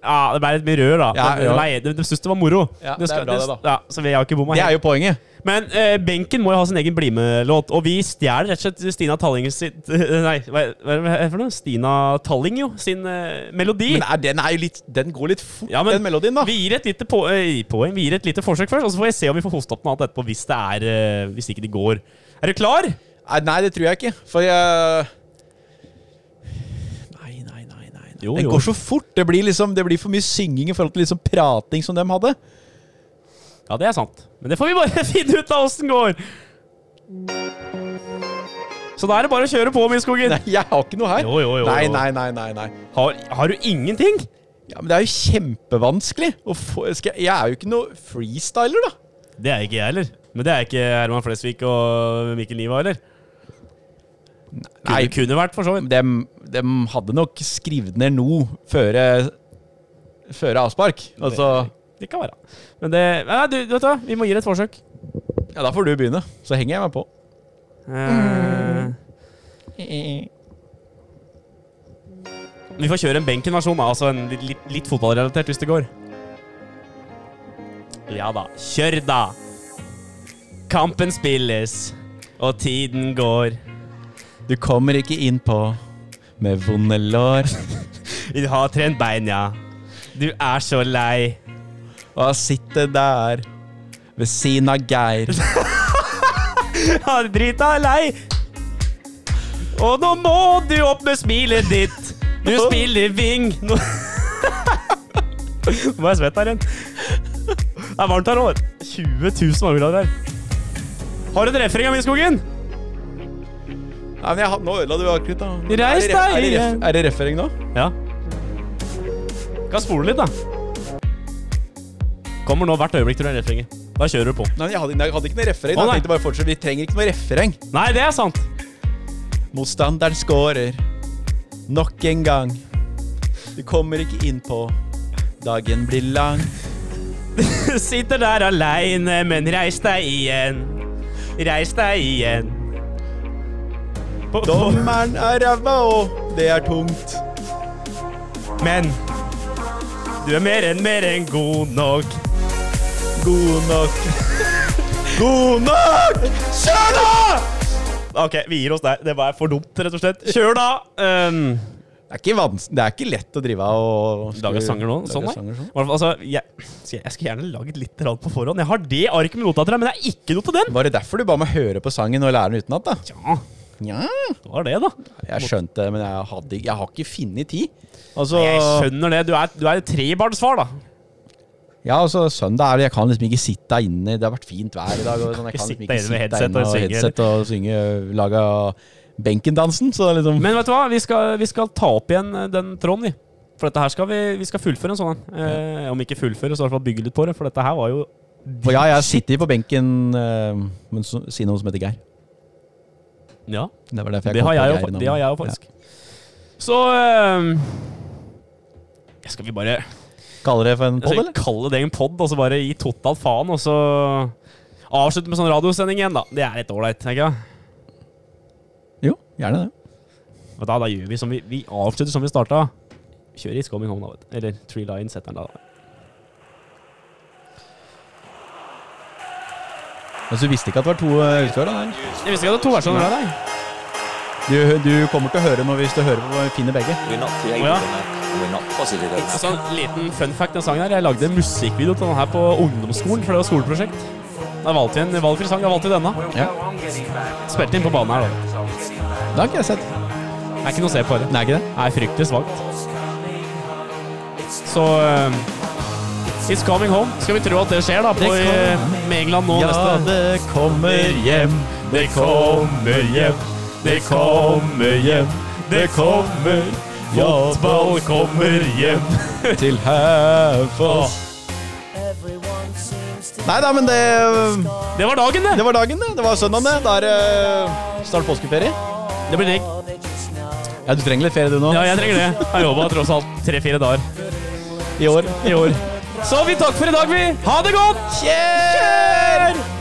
[SPEAKER 2] Ja, det ble litt mye rør, da.
[SPEAKER 3] Ja,
[SPEAKER 2] men,
[SPEAKER 3] ja.
[SPEAKER 2] Nei, de, de syns det var moro.
[SPEAKER 3] Ja, det er bra det, da.
[SPEAKER 2] Ja, så vi har ikke bomma
[SPEAKER 3] Det er jo poenget.
[SPEAKER 2] men eh, benken må jo ha sin egen BlimE-låt, og vi stjeler rett og slett Stina Talling sitt <laughs> Nei, hva hva er det for noe? Stina Talling, jo, sin eh, melodi.
[SPEAKER 3] Men er, den, er jo litt, den går litt fort,
[SPEAKER 2] Ja, men
[SPEAKER 3] den melodien, da.
[SPEAKER 2] Vi gir et lite på, eh, poeng, vi gir et lite forsøk først, og så får vi se om vi får hoste opp noe annet etterpå hvis det er eh, Hvis ikke det går. Er du klar?
[SPEAKER 3] Nei, nei, det tror jeg ikke. For jeg Nei, nei, nei. nei, nei.
[SPEAKER 2] Jo,
[SPEAKER 3] den
[SPEAKER 2] jo.
[SPEAKER 3] går så fort. Det blir, liksom, det blir for mye synging i forhold til liksom prating som dem hadde.
[SPEAKER 2] Ja, det er sant. Men det får vi bare <laughs> finne ut av åssen går. Så da er det bare å kjøre på, Midtskogen.
[SPEAKER 3] Nei, jeg har ikke noe her.
[SPEAKER 2] Jo, jo, jo,
[SPEAKER 3] nei,
[SPEAKER 2] jo.
[SPEAKER 3] nei, nei, nei, nei.
[SPEAKER 2] Har, har du ingenting?
[SPEAKER 3] Ja, men det er jo kjempevanskelig. Å få, skal, jeg- jeg er jo ikke noe freestyler, da.
[SPEAKER 2] Det er ikke jeg heller. Men det er ikke Herman Flesvig og Mikkel Niva heller. Kunne,
[SPEAKER 3] Nei.
[SPEAKER 2] kunne vært, for så vidt.
[SPEAKER 3] Dem, dem hadde nok skrevet ned noe før før avspark. Altså,
[SPEAKER 2] Det kan være. Men det Nei, du, du vet hva, vi må gi det et forsøk.
[SPEAKER 3] ja, Da får du begynne, så henger jeg meg på.
[SPEAKER 2] Eh, vi får kjøre en benken-versjon, da. Altså en litt, litt, litt fotballrelatert, hvis det går. Ja da. Kjør, da! Kampen spilles, og tiden går.
[SPEAKER 3] Du kommer ikke innpå med vonde lår
[SPEAKER 2] Vi har trent bein, ja. Du er så lei.
[SPEAKER 3] og sitter der ved siden av Geir.
[SPEAKER 2] Ja, drita er lei. Og nå må du opp med smilet ditt. Du spiller ving. Nå Nå var jeg svett her igjen. Det er varmt her òg. 20 000 varmegrader her. Har du en refreng av Vinskogen?
[SPEAKER 3] <laughs> Nei, men jeg, had- nå ødela du akkurat, da.
[SPEAKER 2] Reis
[SPEAKER 3] Er det ref-
[SPEAKER 2] deg
[SPEAKER 3] er det ref-
[SPEAKER 2] igjen.
[SPEAKER 3] Er det referering nå?
[SPEAKER 2] Ja. Kan spole litt, da. Kommer nå hvert øyeblikk til det refrenget. Da kjører du på.
[SPEAKER 3] Nei, jeg hadde, jeg hadde ikke noe referering.
[SPEAKER 2] Å,
[SPEAKER 3] da.
[SPEAKER 2] nei.
[SPEAKER 3] Jeg tenkte bare fortsette. Vi trenger ikke noe refereng.
[SPEAKER 2] Nei, det er sant. <laughs>
[SPEAKER 3] Motstanderen scorer nok en gang. Du kommer ikke innpå. Dagen blir lang.
[SPEAKER 2] Sitter der aleine, men reis deg igjen. Reis deg igjen. På, på,
[SPEAKER 3] Dommeren er ræva, og det er tungt.
[SPEAKER 2] men du er mer enn mer enn god nok.
[SPEAKER 3] God nok. God nok! Kjør da!
[SPEAKER 2] Ok, vi gir oss der. Det var for dumt, rett og slett. Kjør, da! Um,
[SPEAKER 3] Det er ikke, vans det er ikke lett å drive av og
[SPEAKER 2] Laga sanger nå?
[SPEAKER 3] Lage
[SPEAKER 2] Sånn, nei.
[SPEAKER 3] sanger sånn.
[SPEAKER 2] Hvertfall, Altså, jeg, skal- jeg skulle gjerne laget litt rann på forhånd. Jeg har det arket med notater her, men det er ikke noe til den.
[SPEAKER 3] Var det derfor du ba meg høre på sangen og lære den utenat, da?
[SPEAKER 2] Ja,
[SPEAKER 3] Nja.
[SPEAKER 2] det var det, da.
[SPEAKER 3] Jeg skjønte det, men jeg, hadde, jeg har ikke funnet tid. Altså,
[SPEAKER 2] Jeg skjønner det. Du er, du er trebarnsfar, da.
[SPEAKER 3] ja, altså, søndag er det Jeg kan liksom ikke sitte der inne. Det har vært fint vær i dag. Og sånn.
[SPEAKER 2] ikke
[SPEAKER 3] Jeg kan liksom
[SPEAKER 2] sitte
[SPEAKER 3] ikke
[SPEAKER 2] inne
[SPEAKER 3] sitte
[SPEAKER 2] med headset
[SPEAKER 3] der
[SPEAKER 2] og
[SPEAKER 3] inne og
[SPEAKER 2] synge.
[SPEAKER 3] headset og synge. Laga benkendansen. Så det er liksom
[SPEAKER 2] Men vet du hva, vi skal, vi skal ta opp igjen eh, den tråden, vi. For dette her skal vi, vi skal fullføre en sånn en. Eh, om ikke fullføre, så i hvert fall bygge litt på det. For dette her var jo
[SPEAKER 3] Og ja, jeg sitter på benken eh, men så, si noe som heter Geir.
[SPEAKER 2] Ja,
[SPEAKER 3] Det var derfor jeg
[SPEAKER 2] det
[SPEAKER 3] kom
[SPEAKER 2] har
[SPEAKER 3] på
[SPEAKER 2] jeg jo,
[SPEAKER 3] Geir
[SPEAKER 2] fa-
[SPEAKER 3] nå.
[SPEAKER 2] det har jeg jo faktisk. Så øhm, ja, Skal vi bare
[SPEAKER 3] Ja. Kaller det for en podd,
[SPEAKER 2] skal vi
[SPEAKER 3] eller?
[SPEAKER 2] kalle det en pod, og så bare gi totalt faen, og så avslutte med sånn radiosending igjen, da. Det er litt ålreit, tenker jeg.
[SPEAKER 3] Jo, gjerne det.
[SPEAKER 2] Og da, da gjør vi som vi, vi avslutter som vi starta. Kjør It's Coming Home, da, vet du. Eller Three Lines heter den da.
[SPEAKER 3] Men så Altså, visste ikke at det var to eh, utgaver, da? nei.
[SPEAKER 2] Jeg visste ikke at det var to versjoner av deg.
[SPEAKER 3] Du, du kommer til å høre noe hvis du hører på finner begge.
[SPEAKER 7] We're not creative
[SPEAKER 2] Well.
[SPEAKER 7] enough. and We're not positive enough.
[SPEAKER 2] Altså, en liten fun fact den sangen her. Jeg lagde en musikkvideo til den her på ungdomsskolen, for det var skoleprosjekt. Da valgte jeg en valgfri sang. Jeg valgte denne.
[SPEAKER 3] Ja.
[SPEAKER 2] Spilte inn på banen her, da.
[SPEAKER 3] Det har ikke jeg sett.
[SPEAKER 2] Det er ikke noe å se på. Det
[SPEAKER 3] Nei, ikke det?
[SPEAKER 2] er fryktelig svakt. Så eh, It's coming home. Skal vi tro at det skjer, da, på eh, med England nå neste
[SPEAKER 3] det kommer hjem,
[SPEAKER 2] Det kommer hjem, det kommer hjem, det kommer Fotball kommer hjem.
[SPEAKER 3] <laughs> til Høvås. Nei da, men det,
[SPEAKER 2] Det var dagen, det!
[SPEAKER 3] det var dagen, det. Det var søndagen, det. Da er det snart påskeferie.
[SPEAKER 2] Det blir digg.
[SPEAKER 3] Ja, du trenger litt ferie, du nå.
[SPEAKER 2] Ja, jeg trenger det. Jeg har jobba tross alt tre-fire dager.
[SPEAKER 3] I år.
[SPEAKER 2] i år. Så vi takker for i dag, vi. Ha det godt!
[SPEAKER 3] Kjør!